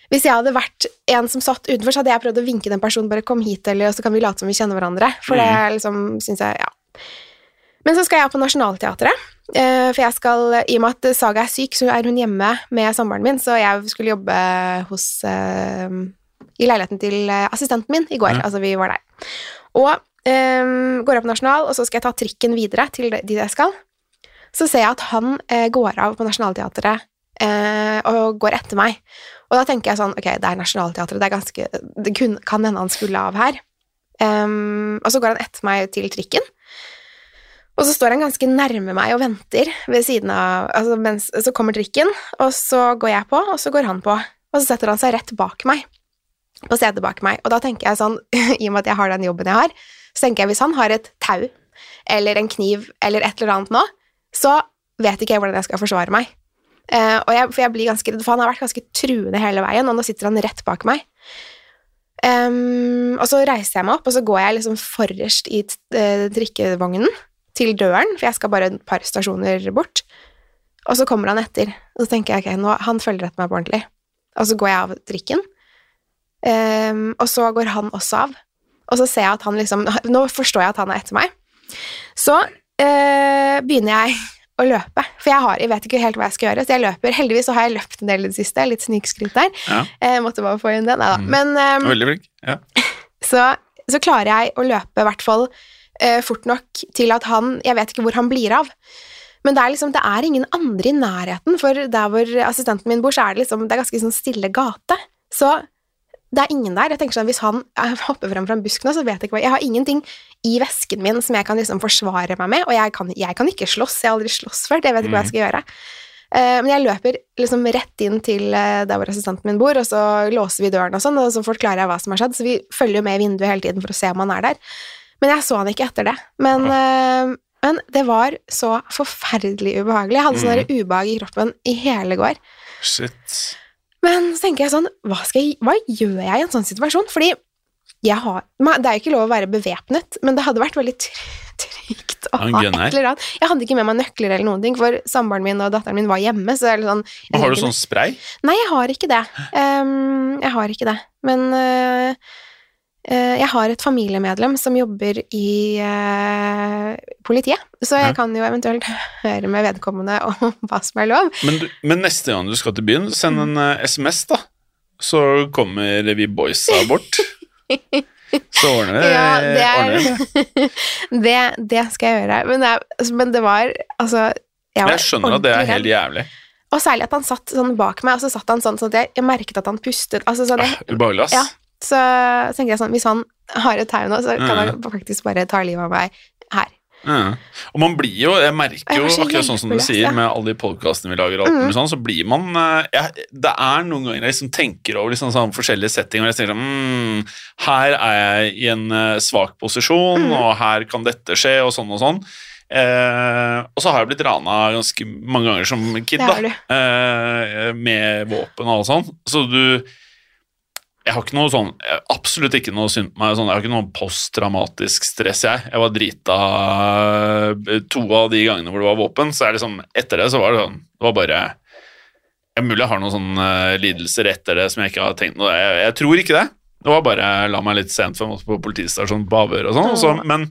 hvis jeg hadde vært en som satt utenfor, så hadde jeg prøvd å vinke den personen, bare kom hit, eller og så kan vi late som vi kjenner hverandre, for det er liksom, synes jeg, ja. Men så skal jeg på Nationalteatret, eh, for jeg skal, i og med at Saga er syk, så er hun hjemme med samboeren min, så jeg skulle jobbe hos, eh, i leiligheten til eh, assistenten min i går,
Ja.
altså vi var der. Og eh, går opp Nasjonal, og så skal jeg ta trikken videre til de- dit jeg skal. Så ser jeg at han eh, går av på Nationalteatret eh, og går etter meg. Og da tenker jeg sånn, ok, det er Nationalteatret, det, er ganske, det kun, kan hende han skulle av her. Ehm, og så går han etter meg til trikken. Og så står han ganske nærme meg og venter ved siden av, altså mens, så kommer trikken, og så går jeg på, og så går han på. Og så setter han seg rett bak meg, på setet bak meg. Og da tenker jeg sånn, i og med at jeg har den jobben jeg har, så tenker jeg hvis han har et tau, eller en kniv, eller et eller annet nå, så vet ikke jeg hvordan jeg skal forsvare meg. Eh, og jeg, for jeg blir ganske redd, for han har vært ganske truende hele veien, og nå sitter han rett bak meg. Ehm, og så reiser jeg meg opp, og så går jeg liksom forrest i t- eh, drikkevognen til døren, for jeg skal bare et par stasjoner bort. Og så kommer han etter, og så tenker jeg, ok, nå, han følger etter meg på ordentlig. Og så går jeg av drikken, Ehm, og så går han også av. Og så ser jeg at han liksom, nå forstår jeg at han er etter meg. Så eh, begynner jeg å løpe, for jeg, har, jeg vet ikke helt hva jeg skal gjøre, så jeg løper. Heldigvis så har jeg løpt en del i det siste, litt snikskryt der.
Ja.
Eh, måtte bare få inn den, neida.
Mm.
Men ehm,
Veldig flink. Ja.
så, så klarer jeg å løpe i hvert fall eh, fort nok til at han Jeg vet ikke hvor han blir av. Men det er liksom, det er ingen andre i nærheten, for der hvor assistenten min bor, så er det liksom, det er ganske sånn stille gate. Så det er ingen der. Jeg tenker sånn, Hvis han eh, hopper frem fra en busk nå, så vet jeg ikke hva Jeg har ingenting i vesken min som jeg kan liksom forsvare meg med, og jeg kan, jeg kan ikke slåss. Jeg har aldri slåss før. Jeg vet ikke hva jeg skal gjøre. Eh, Men jeg løper liksom rett inn til eh, der hvor assistenten min bor, og så låser vi døren og sånn, og så forklarer jeg hva som har skjedd. Så vi følger jo med i vinduet hele tiden for å se om han er der. Men jeg så han ikke etter det. Men, eh, men det var så forferdelig ubehagelig. Jeg hadde sånn
Mhm.
der ubehag i kroppen i hele går.
Shit.
Men så tenker jeg sånn, hva, skal jeg, hva gjør jeg i en sånn situasjon? Fordi jeg har, ma- det er jo ikke lov å være bevæpnet, men det hadde vært veldig try- trygt å
Ha
ha
en
et
gunner.
eller annet. Jeg hadde ikke med meg nøkler eller noen ting, for samboeren min og datteren min var hjemme. Så det er litt sånn,
Men har du sånn spray?
Nei, jeg har ikke det. Ehm, jeg har ikke det. Men øh, øh, jeg har et familiemedlem som jobber i øh, politiet, så jeg
Ja.
kan jo eventuelt høre med vedkommende om hva som er lov.
Men, du, men neste gang du skal til byen, send en eh, SMS, da. Så kommer vi boysa bort. Så ordner vi
Ja, det
ordner vi
er det, det skal jeg gjøre. Men det, er, altså, men det var altså
Men
var
Jeg skjønner at det er
ordentlig
helt
redd.
jævlig.
Og særlig at han satt sånn bak meg, og så satt han sånn sånn at jeg, jeg merket at han pustet. Altså, sånn, jeg,
Ubehagelig, ass.
Ja. så tenkte jeg sånn Hvis han har et tau nå, så kan
Mm.
han faktisk bare ta livet av meg her.
Ja. Og man blir jo, jeg merker
Jeg
jo
var så
akkurat sånn som du
hjelpeløs,
sier,
ja. Mm.
med alle de podkastene vi lager, og alt mulig sånn, så blir man eh, jeg, Det er noen ganger jeg liksom tenker over liksom sånn forskjellige settinger, og jeg tenker sånn mm, Her er jeg i en eh, svak posisjon,
Mm.
og her kan dette skje, og sånn og sånn. Eh, og så har jeg blitt rana ganske mange ganger som kid,
Det har
da. Eh, med våpen og alt sånn. Så du jeg har ikke noe sånn, jeg har absolutt ikke noe synd på meg. Sånn, jeg har ikke noe posttraumatisk stress, jeg. Jeg var drita eh, to av de gangene hvor det var våpen. Så er det liksom, etter det så var det sånn Det var bare Det er mulig jeg har noen sånne eh, lidelser etter det som jeg ikke har tenkt noe jeg, jeg tror ikke det. Det var bare la meg litt sent for jeg måtte på politistasjonen på avhør og sånn. og så- Men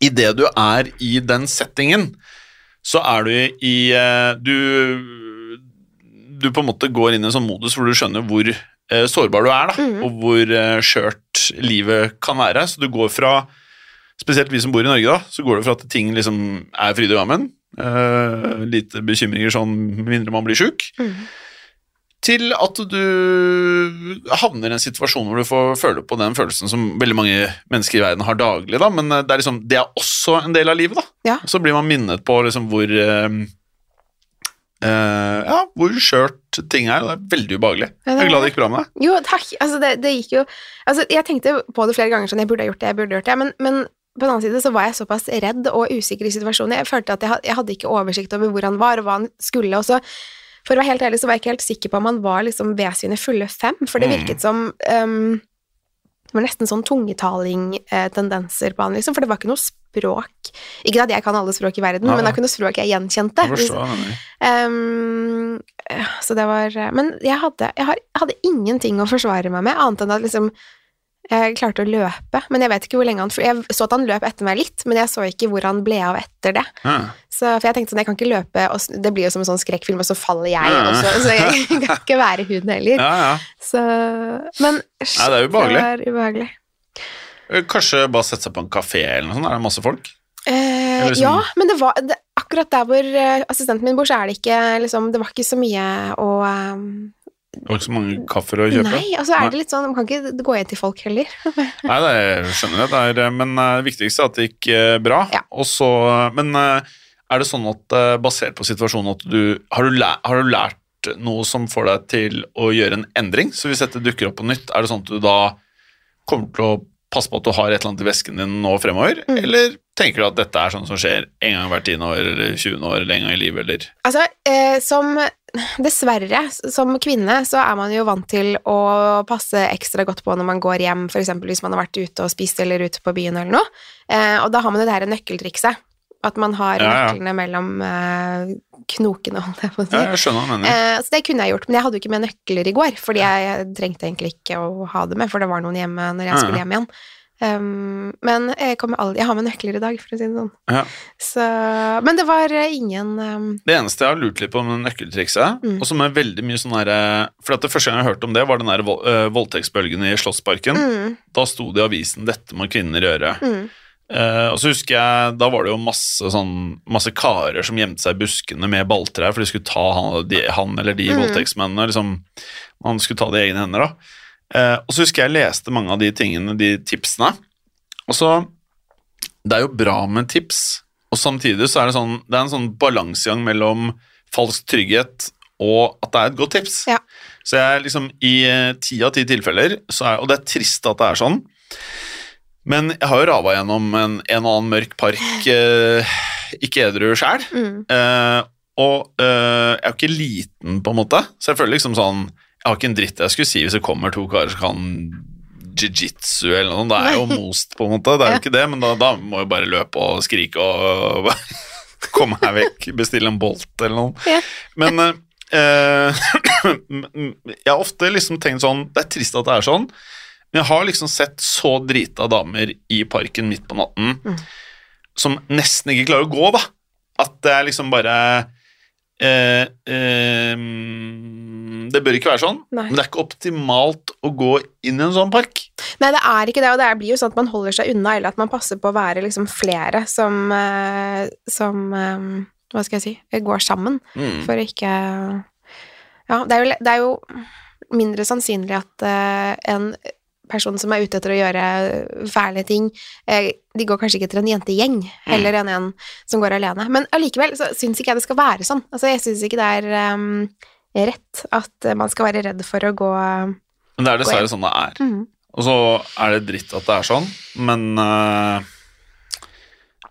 idet du er i den settingen, så er du i eh, Du du på en måte går inn i en sånn modus hvor du skjønner hvor eh, sårbar du er, da, og hvor eh, skjørt livet kan være. Så du går fra Spesielt vi som bor i Norge, da, så går det fra at ting liksom er fryd og gammen, eh, lite bekymringer sånn med mindre man blir sjuk,
Mm.
til at du havner i en situasjon hvor du får føle på den følelsen som veldig mange mennesker i verden har daglig, da, men eh, det er, liksom, det er også en del av livet, da.
Ja.
Så blir man minnet på liksom hvor eh, eh, ja, hvor skjørt ting er, og det er veldig ubehagelig.
Ja, det
Jeg er glad
er
det gikk bra med deg.
Jo, takk. Altså, det, det gikk jo Altså, jeg tenkte på det flere ganger sånn, jeg burde ha gjort det, jeg burde ha gjort det, men, men på den annen side så var jeg såpass redd og usikker i situasjonen. Jeg følte at jeg, had- jeg hadde ikke oversikt over hvor han var, og hva han skulle, og så For å være helt ærlig så var jeg ikke helt sikker på om han var liksom ved sine fulle fem, for det
Mm.
virket som ehm, det var nesten sånn tungetalingtendenser på han, liksom, for det var ikke noe språk. Ikke at jeg kan alle språk i verden,
Nei,
men det
nei.
var ikke noe språk jeg gjenkjente.
Jeg
Hvis-
forstår hva du mener.
Ehm, øh, så det var Men jeg hadde, jeg, har, jeg hadde ingenting å forsvare meg med, annet enn at liksom jeg klarte å løpe, men jeg vet ikke hvor lenge han for Jeg så at han løp etter meg litt, men jeg så ikke hvor han ble av etter det.
Ja.
Så, for jeg tenkte sånn, jeg kan ikke løpe og sn- Det blir jo som en sånn skrekkfilm, og så faller jeg
Ja.
også, så jeg kan ikke være hun heller.
Ja, ja.
Så Men
Nei, det er ubehagelig.
Det var ubehagelig.
Eh, Kanskje bare sette seg på en kafé eller noe sånt, er det masse folk?
Eh,
Eller liksom-
ja, men det var det, akkurat der hvor eh, assistenten min bor, så er det ikke liksom Det var ikke så mye å eh,
Det var ikke så mange kaffer å kjøpe.
Nei, og så er det litt sånn, man kan ikke gå inn til folk heller.
Nei, det er, jeg skjønner jeg. Det er, men eh, det viktigste er at det gikk eh, bra.
Ja.
Og så- men eh, er det sånn at eh, basert på situasjonen at du har, du lært, har du lært noe som får deg til å gjøre en endring? Så hvis dette dukker opp på nytt, er det sånn at du da kommer til å passe på at du har et eller annet i vesken din nå fremover?
Mm.
Eller tenker du at dette er sånn som skjer en gang hvert tiende år eller 20 år eller en gang i livet, eller
Altså, eh, som Dessverre, som kvinne, så er man jo vant til å passe ekstra godt på når man går hjem, f.eks. hvis man har vært ute og spist eller ute på byen eller noe. Eh, og da har man jo det her nøkkeltrikset. At man har
Ja, ja.
nøklene mellom eh, knokene, holdt jeg på å si.
Ja, jeg skjønner hva du mener.
Eh, så det kunne jeg gjort, men jeg hadde jo ikke med nøkler i går, fordi jeg trengte egentlig ikke å ha det med, for det var noen hjemme når jeg
Ja,
skulle
ja.
hjem igjen. Um, men jeg, kommer aldri, jeg har med nøkler i dag, for å si det sånn.
Ja.
Så, men det var eh, ingen um,
Det eneste jeg har lurt litt på med nøkkeltrikset,
Mm.
og som er veldig mye sånn derre For at det første gang jeg hørte om det, var den der vold- eh, voldtektsbølgen i Slottsparken.
mm,
Da sto det i avisen 'Dette må kvinner gjøre'.
mm,
Eh, og så husker jeg, Da var det jo masse, sånn, masse karer som gjemte seg i buskene med balltrær, for de skulle ta han, de, han eller de
Mhm.
voldtektsmennene. liksom, Man skulle ta det i egne hender. da. Eh, og så husker jeg leste mange av de tingene, de tipsene. Og så Det er jo bra med tips, og samtidig så er det sånn, det er en sånn balansegang mellom falsk trygghet og at det er et godt tips.
Ja.
Så jeg liksom i eh, ti av ti tilfeller, så er, og det er trist at det er sånn, men jeg har jo rava gjennom en, en og annen mørk park, eh, ikke edru sjæl.
mm.
Eh, og eh, jeg er jo ikke liten, på en måte, så jeg føler liksom sånn Jeg har ikke en dritt jeg skulle si hvis det kommer to karer som kan jiu-jitsu eller noe sånt. Da er jeg jo most, på en måte. Det er jo
Ja.
ikke det, men da, da må jeg bare løpe og skrike og, komme meg vekk, bestille en bolt eller noe.
Ja.
Men eh, eh, jeg har ofte liksom tenkt sånn Det er trist at det er sånn, men jeg har liksom sett så drita damer i parken midt på natten
Mm.
som nesten ikke klarer å gå, da. At det er liksom bare eh, eh, mm, Det bør ikke være sånn,
Nei.
men det er ikke optimalt å gå inn i en sånn park.
Nei, det er ikke det, og det blir jo sånn at man holder seg unna, eller at man passer på å være liksom flere som, eh, som eh, Hva skal jeg si går sammen,
Mm.
for å ikke Ja, det er jo, det er jo mindre sannsynlig at eh, en person som er ute etter å gjøre fæle ting, eh, de går kanskje ikke etter en jentegjeng heller enn en som går alene. Men allikevel så syns ikke jeg det skal være sånn. Altså, jeg syns ikke det er eh, rett at man skal være redd for å gå
Men det er dessverre sånn det er.
Mhm.
Og så er det dritt at det er sånn, men eh,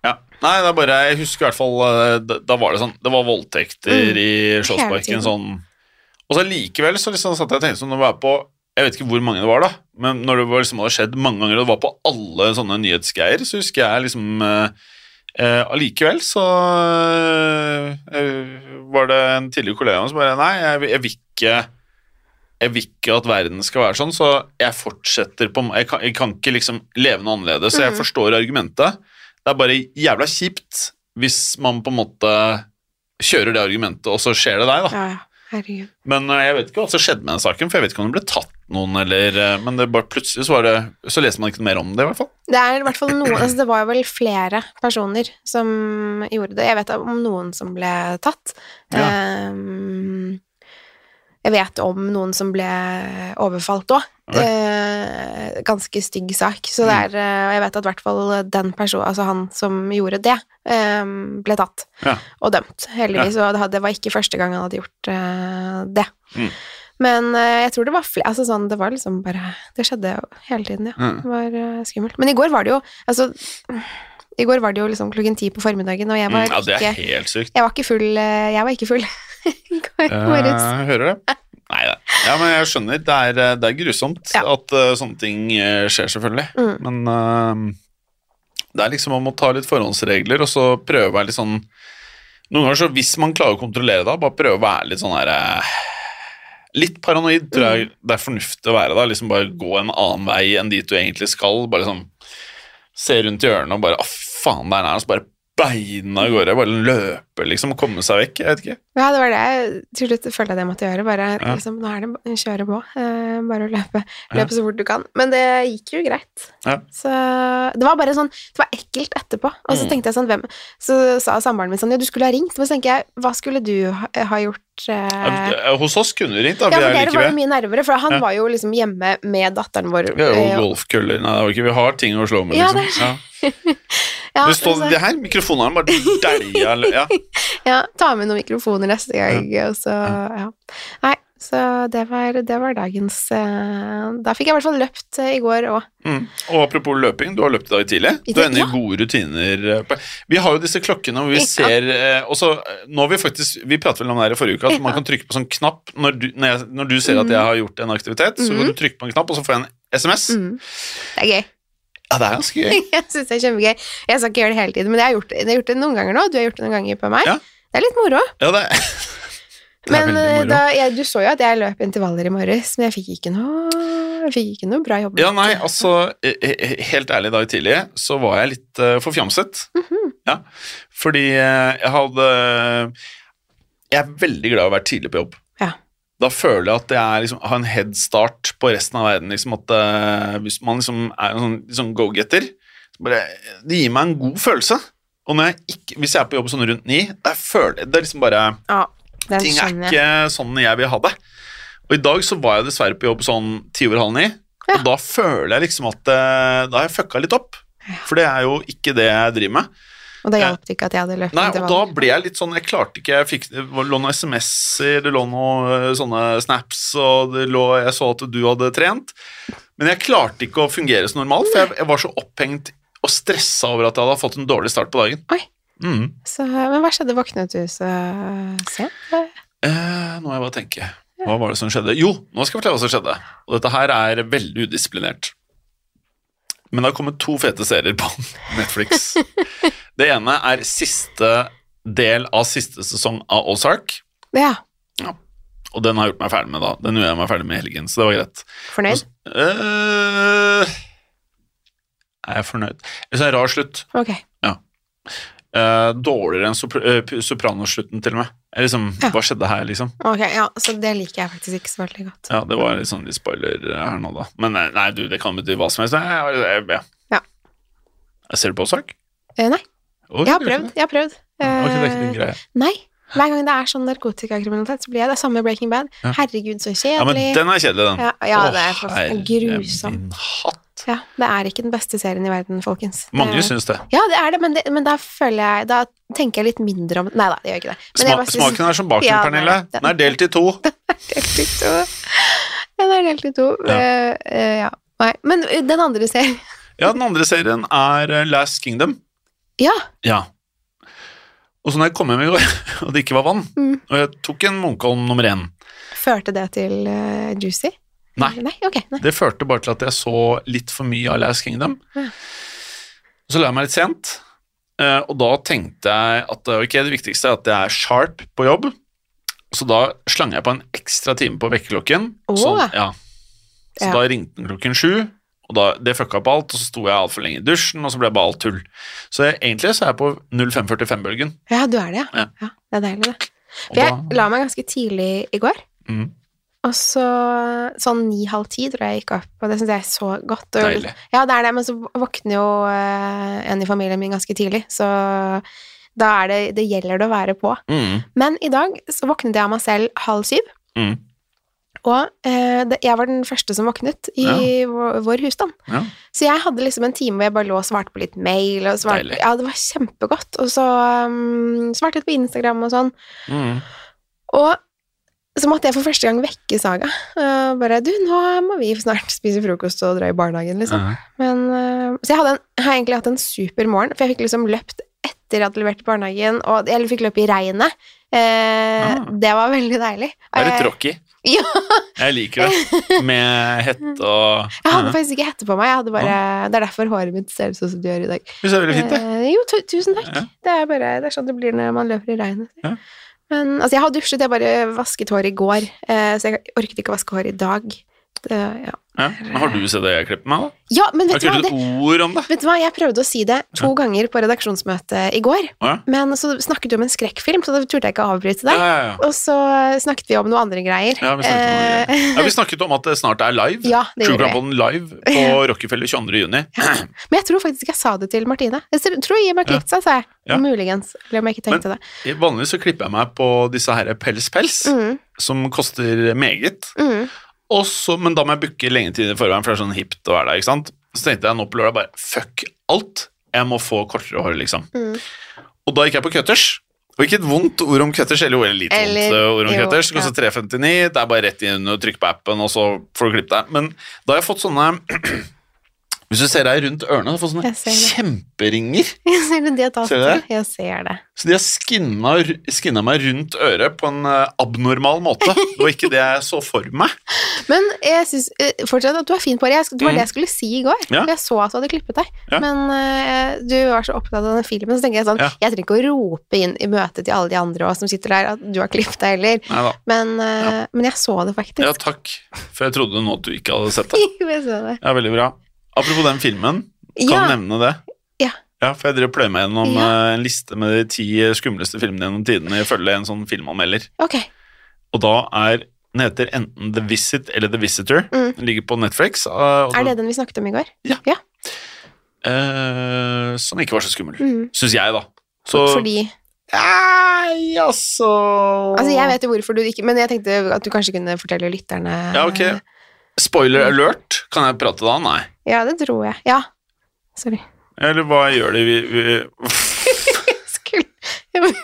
Ja. Nei, det er bare Jeg husker i hvert fall eh, da, da var det sånn Det var voldtekter
Mm.
i Slottsparken
tiden.
sånn. Og så likevel så liksom satt jeg og tenkte sånn Når jeg var på Jeg vet ikke hvor mange det var, da, men når det var liksom hadde skjedd mange ganger, og det var på alle sånne nyhetsgreier, så husker jeg liksom eh, Eh, Allikevel så eh, var det en tidligere kollega av meg som bare Nei, jeg, vil- jeg vil ikke jeg vil ikke at verden skal være sånn, så jeg fortsetter på Jeg kan, jeg kan ikke liksom leve noe annerledes, så jeg
Mhm.
forstår argumentet. Det er bare jævla kjipt hvis man på en måte kjører det argumentet, og så skjer det deg, da.
Ja, ja. Herregud.
Men eh, jeg vet ikke hva som skjedde med den saken, for jeg vet ikke om det ble tatt noen, eller eh, Men det bare plutselig så var det Så leste man ikke noe mer om det, i hvert fall.
Det er i hvert fall noen altså Det var jo vel flere personer som gjorde det. Jeg vet om noen som ble tatt.
Ja.
Ehm, jeg vet om noen som ble overfalt òg.
Oi. Mm.
ganske stygg sak. Så det er, eh, og jeg vet at i hvert fall den personen, altså han som gjorde det, ehm, ble tatt
Ja.
og dømt, heldigvis. Og det had- det var ikke første gang han hadde gjort eh, det.
Mm.
Men eh, jeg tror det var flere altså sånn, Det var liksom bare Det skjedde jo hele tiden, ja.
Mm.
Det var eh, skummelt. Men i går var det jo Altså I går var det jo liksom klokken ti på formiddagen, og jeg
Mm,
var
ja, det
ikke
er helt sykt.
Jeg var ikke full. eh, Jeg var ikke full i går
Eh,
morges.
Jeg hører det. Nei da. Ja, men jeg skjønner. Det er, eh, det er grusomt
Ja.
at eh, sånne ting eh, skjer, selvfølgelig.
Mm.
Men eh, det er liksom man må ta litt forhåndsregler, og så prøve å være litt sånn Noen ganger så hvis man klarer å kontrollere det, bare prøve å være litt sånn her eh, Litt paranoid tror
Mm.
jeg det er fornuftig å være da. Liksom bare gå en annen vei enn dit du egentlig skal. Bare liksom se rundt i hjørnet og bare Å, faen, der er han. Så bare beina av gårde. Bare løpe, liksom. og Komme seg vekk. Jeg vet ikke.
Ja, det var det jeg til slutt følte at jeg måtte gjøre. Bare
Ja.
liksom Nå er det ba- kjøre på. eh, Bare å løpe.
Ja.
Løpe så fort du kan. Men det gikk jo greit.
Ja.
Så det var bare sånn Det var ekkelt etterpå. Og så
Mm.
tenkte jeg sånn hvem, Så sa samboeren min sånn Ja, du skulle ha ringt. Men så tenker jeg Hva skulle du ha, ha gjort eh,
Ja, Hos oss kunne du ringt, da.
Ja,
Vi
for
er
dere var jo
likevel.
mye nærmere, for han
Ja.
var jo liksom hjemme med datteren vår.
Vi har
eh,
jo golfkøller Nei, det var ikke, vi har ting å slå med,
Ja,
liksom. Ja,
ja,
det står
så-
det her, mikrofonen her bare dælja lø- ja.
ja, ta med noen mikrofoner neste gang, og så ja. Nei, så det var, det var dagens eh, Da fikk jeg i hvert fall løpt eh, i går òg.
mm. Og apropos løping, du har løpt i dag tidlig.
I
Du har
dag-
ennå gode rutiner. eh, på- Vi har jo disse klokkene hvor vi
Ja.
ser eh, Og så eh, nå har vi faktisk Vi pratet vel om det her i forrige uke, at
Ja.
man kan trykke på sånn knapp når du, når jeg, når du ser at jeg har gjort en aktivitet, så kan du trykke på en knapp, og så får jeg en SMS.
Mm. Det er gøy.
Ja, det er ganske gøy.
Jeg syns det er kjempegøy. Jeg skal ikke gjøre det hele tiden, men jeg har gjort det, jeg har gjort det noen ganger nå. Du har gjort det noen ganger på meg.
Ja.
Det er litt moro.
Ja, det er, det er
Men
veldig
eh,
moro.
da, jeg, du så jo at jeg løp intervaller i morges, men jeg fikk ikke noe, jeg fikk ikke noe bra jobb.
Ja, nei, altså eh, eh, Helt ærlig, i dag tidlig så var jeg litt eh, forfjamset. Ja, fordi eh, jeg hadde Jeg er veldig glad i å være tidlig på jobb.
Ja.
Da føler jeg at jeg er, liksom, har en head start på resten av verden. Liksom, at eh, Hvis man liksom er en sånn liksom go-getter så bare, Det gir meg en god følelse. Og når jeg ikke, hvis jeg er på jobb sånn rundt ni, da føler jeg det er liksom bare
Ja, den
Ting er
skjønner jeg.
ikke sånn jeg vil ha det. Og i dag så var jeg dessverre på jobb sånn ti over halv ni,
Ja.
og da føler jeg liksom at eh, da har jeg fucka litt opp. For det er jo ikke det jeg driver med.
Og da hjalp det ikke at jeg hadde løpt
Nei, og da
intervaller.
ble jeg litt sånn Jeg klarte ikke Jeg fikk, det var- lå noen SMS-er, det lå noen eh, sånne snaps, og det lå, jeg så at du hadde trent. Men jeg klarte ikke å fungere som normalt, for jeg, jeg var så opphengt og stressa over at jeg hadde fått en dårlig start på dagen.
Oi.
Mm.
Så, eh, men hva skjedde? Våknet du så sent?
Eh, nå må jeg bare tenke. Hva var det som skjedde? Jo, nå skal jeg fortelle hva som skjedde. Og dette her er veldig udisiplinert. Men det har kommet to fete serier på Netflix. Det ene er siste del av siste sesong av Ozark.
Ja.
Og den har jeg gjort meg ferdig med, da. Den gjorde jeg meg ferdig med i helgen, så det var greit. Altså,
Fornøyd?
Eh, er jeg fornøyd? Jeg synes det er en rar slutt.
Ok.
Eh, dårligere enn sopr eh, p- Sopranoslutten, til og med. Jeg liksom,
Ja.
Hva skjedde her, liksom?
Ok, ja, Så det liker jeg faktisk ikke så veldig godt.
Ja, det var litt sånn litt spoiler her nå, da. Men eh, nei, du, det kan bety hva som helst. Nei, jeg, jeg,
Ja.
jeg ser du på Ozark?
Eh, nei,
Oi,
jeg har
det er
prøvd.
ikke det.
Jeg har
Ok,
prøvd.
det er ikke
Eh,
din greie.
nei. Hver gang det er sånn narkotikakriminalitet, så blir jeg det. Samme Breaking Bad.
Ja.
Herregud, så
Ja, men
kjedelig.
den er kjedelig, den.
Ja, ja,
Åh,
det er for- grusom.
Herre min hatt.
Ja, det er ikke den beste serien i verden, folkens. Det-
Mange syns det.
Ja, det er det, Eh, men, det, men da føler jeg Da tenker jeg litt mindre om Nei da, det gjør ikke det. Men jeg
Sma
bare synes-
smaken er som baken,
Ja, nei,
Pernille.
den-
Den er delt i to.
delt i to. Den er delt i to.
Ja.
Eh, eh, ja. Nei, men den andre serien
Ja, den andre serien er eh, Last Kingdom.
Ja.
Ja. Og så når jeg kom hjem i går, og det ikke var vann,
Mm.
og jeg tok en Munkholm nummer én
Førte det til eh, Juicy?
Nei.
Nei, ok. Nei.
Det førte bare til at jeg så litt for mye av Last Kingdom.
Ja.
Så la jeg meg litt sent, eh, og da tenkte jeg at eh, ok, det viktigste er at jeg er sharp på jobb. Så da slang jeg på en ekstra time på vekkerklokken.
Åh.
Sånn, ja. Så
Ja.
da ringte den klokken sju, og da, det fucka opp alt, og så sto jeg altfor lenge i dusjen, og så ble det bare alt tull. Så jeg, egentlig så er jeg på 0545-bølgen.
Ja, du er det, ja.
Ja.
ja. det er deilig, det.
Og
For jeg
da-
la meg ganske tidlig i går.
Mm.
Og så sånn ni-halv ti tror jeg jeg gikk opp, og det syns jeg er så godt. Og,
Deilig.
Ja, det er det, men så våkner jo eh, en i familien min ganske tidlig, så da er det Det gjelder det å være på.
Mm.
Men i dag så våknet jeg av meg selv halv syv,
Mm.
og eh, det, jeg var den første som våknet i vår, vår husstand.
Ja.
Så jeg hadde liksom en time hvor jeg bare lå og svarte på litt mail, og svarte,
Deilig.
ja, det var kjempegodt. Og så um, svarte litt på Instagram og sånn.
Mm.
Og så måtte jeg for første gang vekke Saga. Og bare du, nå må vi snart spise frokost og dra i barnehagen, liksom.
Ja.
Men, øh, så jeg hadde en, har egentlig hatt en super morgen, for jeg fikk liksom løpt etter at jeg leverte barnehagen, og jeg fikk løpe i regnet. Eh,
Ah.
Det var veldig deilig.
Det er litt
Eh,
rocky.
Ja.
Jeg liker det. Med hette og
Jeg hadde
Ja.
faktisk ikke hette på meg. Jeg hadde bare, Det er derfor håret mitt ser ut sånn som det gjør i dag.
Det ser veldig fint ut.
Eh, jo, tu tusen takk.
Ja.
Det, er bare, det er sånn det blir når man løper i regnet.
Ja.
Men altså, jeg har dusjet, jeg bare vasket håret i går, eh, så jeg orket ikke å vaske håret i dag. Det, ja.
Ja. Men har du sett det jeg klipper meg, da?
ja, men
Jeg
vet du,
har
hva,
ikke
det,
et ord om det.
vet du hva? Jeg prøvde å si det to ganger på redaksjonsmøtet i går,
Å, ja.
men så snakket du om en skrekkfilm, så da turte jeg ikke å avbryte
Ja,
deg.
ja, ja.
Og så eh, snakket vi om noen andre greier.
Ja, vi snakket om noe
Eh,
Ja, vi snakket om at det snart er live.
ja, det
True
gjorde
Crime
vi.
Podden live på Rockefeller 22. juni.
Men jeg tror faktisk ikke jeg sa det til Martine. Jeg tror- tror jeg meg klikt seg, sa jeg.
Ja.
Muligens. Eller om jeg ikke tenkte det.
Vanligvis så klipper jeg meg på disse her Pels Pels,
Mm,
som koster meget.
mm.
Og så, men da må jeg booke lenge tid i forveien, for det er sånn hipt å være der. ikke sant? Så tenkte jeg nå på lørdag bare fuck alt, jeg må få kortere hår, liksom.
Mm.
Og da gikk jeg på cutters. Og ikke et vondt ord om cutters, eller jo, eller litt
Eller-
vondt eh, ord om
jo,
cutters. Det
ja.
koster 359, det er bare rett inn og trykk på appen, og så får du klippet deg. Men da har jeg fått sånne Hvis du ser deg rundt ørene, så får jeg
Jeg ser
sånne
det.
kjemperinger.
Jeg ser det, det tar
Ser du det?
Jeg ser det.
Så de har skinna, skinna meg rundt øret på en eh, abnormal måte. Det var ikke det jeg så for meg.
Men jeg syns eh, fortsatt at du er fin på det. Jeg, sk- det var
Mm.
det jeg skulle si i går.
Ja.
for Jeg så at du hadde klippet deg.
Ja.
Men eh, du var så opptatt av den filmen, så tenker jeg sånn
Ja.
Jeg trenger ikke å rope inn i møtet til alle de andre også, som sitter der, at du har klippet deg heller.
Neida.
Men, eh, men jeg så det faktisk.
Ja, takk. For jeg trodde nå at du ikke hadde sett det.
jeg så det.
Ja, veldig bra. Apropos den filmen, kan
Ja,
du nevne det?
Ja.
Ja, for jeg driver og pløyer meg gjennom
Ja.
eh, en liste med de ti skumleste filmene gjennom tidene ifølge en sånn filmanmelder.
ok.
Og da er den heter enten The Visit eller The Visitor.
Mm.
Den ligger på Netflix. eh, og
Er det den vi snakket om i går?
eh, som ikke var så skummel.
Mm.
Syns jeg, da. Så
Fordi
Nei, altså
Altså, jeg vet jo hvorfor du ikke Men jeg tenkte at du kanskje kunne fortelle lytterne
Ja, ok. Spoiler
Mm.
alert. Kan jeg prate da? Nei.
Ja, det tror jeg. Ja. Sorry.
Eller hva gjør det vi, vi
Skulle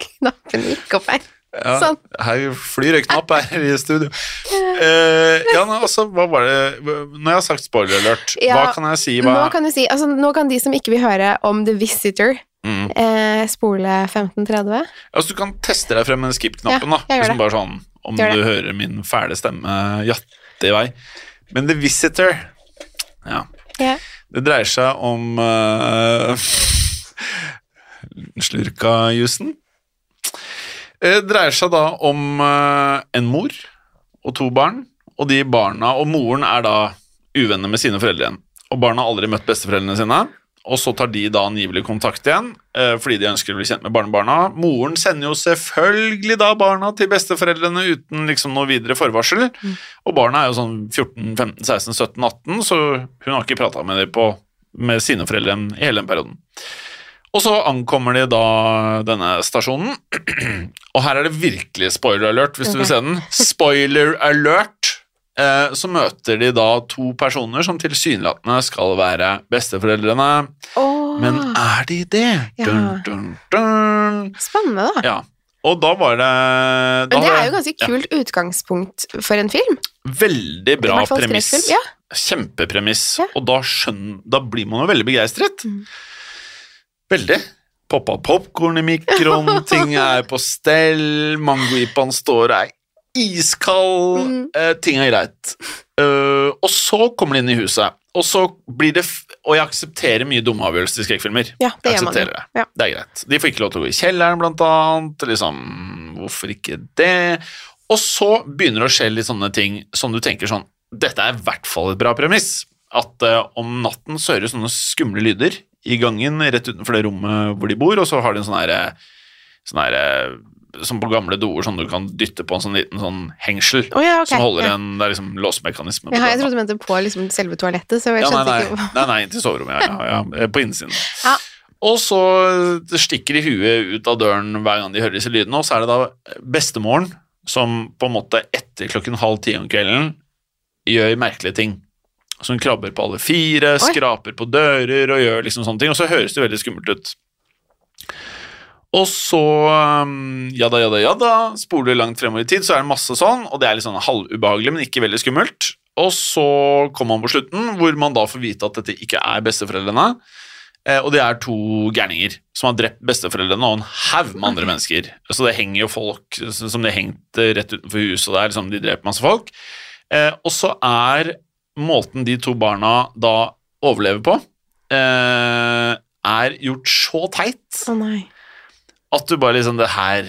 Knappen gikk opp her.
ja,
Sånn.
Her flyr en knapp her i studio. Eh, ja, nei, altså, hva var det Når jeg har sagt spoiler alert, hva
Ja,
kan jeg si? Hva,
Nå kan, du si, altså, nå kan de som ikke vil høre om The Visitor,
mm.
eh, spole 1530.
altså, du kan teste deg frem med skip-knappen, da.
Ja, jeg gjør
Liksom bare sånn Om
Gjør det.
du hører min fæle stemme jatte i vei. Men The Visitor Ja.
Ja.
Det dreier seg om uh, Slurka-jusen. Det dreier seg da om eh, en mor og to barn, og de barna Og moren er da uvenner med sine foreldre igjen. Og barna har aldri møtt besteforeldrene sine, Og så tar de da angivelig kontakt igjen eh, fordi de ønsker å bli kjent med barnebarna. Moren sender jo selvfølgelig da barna til besteforeldrene uten liksom noe videre forvarsel. Og barna er jo sånn 14, 15, 16, 17, 18, så hun har ikke prata med dem på med sine foreldre i hele den perioden. Og så ankommer de da denne stasjonen, og her er det virkelig spoiler alert hvis du vil se den. Spoiler alert! Eh, Så møter de da to personer som tilsynelatende skal være besteforeldrene.
Åh,
Men er de det?
Ah. Ja.
Dun, dun, dun.
Spennende, da.
Ja. Og da var det da
Men det
var
er jo ganske kult utgangspunkt for en film.
Veldig
I
bra
hvert fall
premiss.
skrekkfilm, Ja.
Kjempepremiss.
Ja. Mm.
Og da, skjønn- da blir man jo veldig begeistret. Veldig. Poppa popkorn i mikroen, ting er på stell, mangojipaen står og er iskald,
Mm.
eh, ting er greit. Eh, og så kommer de inn i huset, og så blir det f Og jeg aksepterer mye dumme avgjørelser i skrekkfilmer.
ja, det
Jeg
gjør man jo.
aksepterer det.
Ja.
Det er greit. De får ikke lov til å gå i kjelleren, blant annet. Liksom, hvorfor ikke det? Og så begynner det å skje litt sånne ting som du tenker sånn Dette er i hvert fall et bra premiss. At eh, om natten så hører du sånne skumle lyder i gangen rett utenfor det rommet hvor de bor, og så har de en sånn herre Sånn herre Som på gamle doer, sånn du kan dytte på en sånn liten sånn hengsel.
Å ja, ok.
Som holder
ja.
en Det er liksom låsemekanisme. på
Jaha, jeg
døra.
trodde du mente på liksom selve toalettet, så jeg
Ja, nei,
skjønte ikke
nei,
hva-
nei, nei, til soverommet, ja, ja, ja, Eh, på innsiden.
Ja.
Og så stikker de huet ut av døren hver gang de hører disse lydene, og så er det da bestemoren som på en måte etter klokken halv ti om kvelden gjør merkelige ting. Så hun krabber på alle fire, skraper på dører og gjør liksom sånne ting, og så høres det veldig skummelt ut. Og så, um, ja da, ja da, ja da, spoler du langt fremover i tid, så er det masse sånn, og det er litt sånn halvubehagelig, men ikke veldig skummelt. Og så kommer man på slutten, hvor man da får vite at dette ikke er besteforeldrene, eh, og det er to gærninger som har drept besteforeldrene og en haug med andre mennesker. Så det henger jo folk s- som det hengte rett utenfor huset der, liksom de dreper masse folk. Eh, og så er måten de to barna da overlever på, eh, er gjort så teit
Å nei.
at du bare liksom Det her,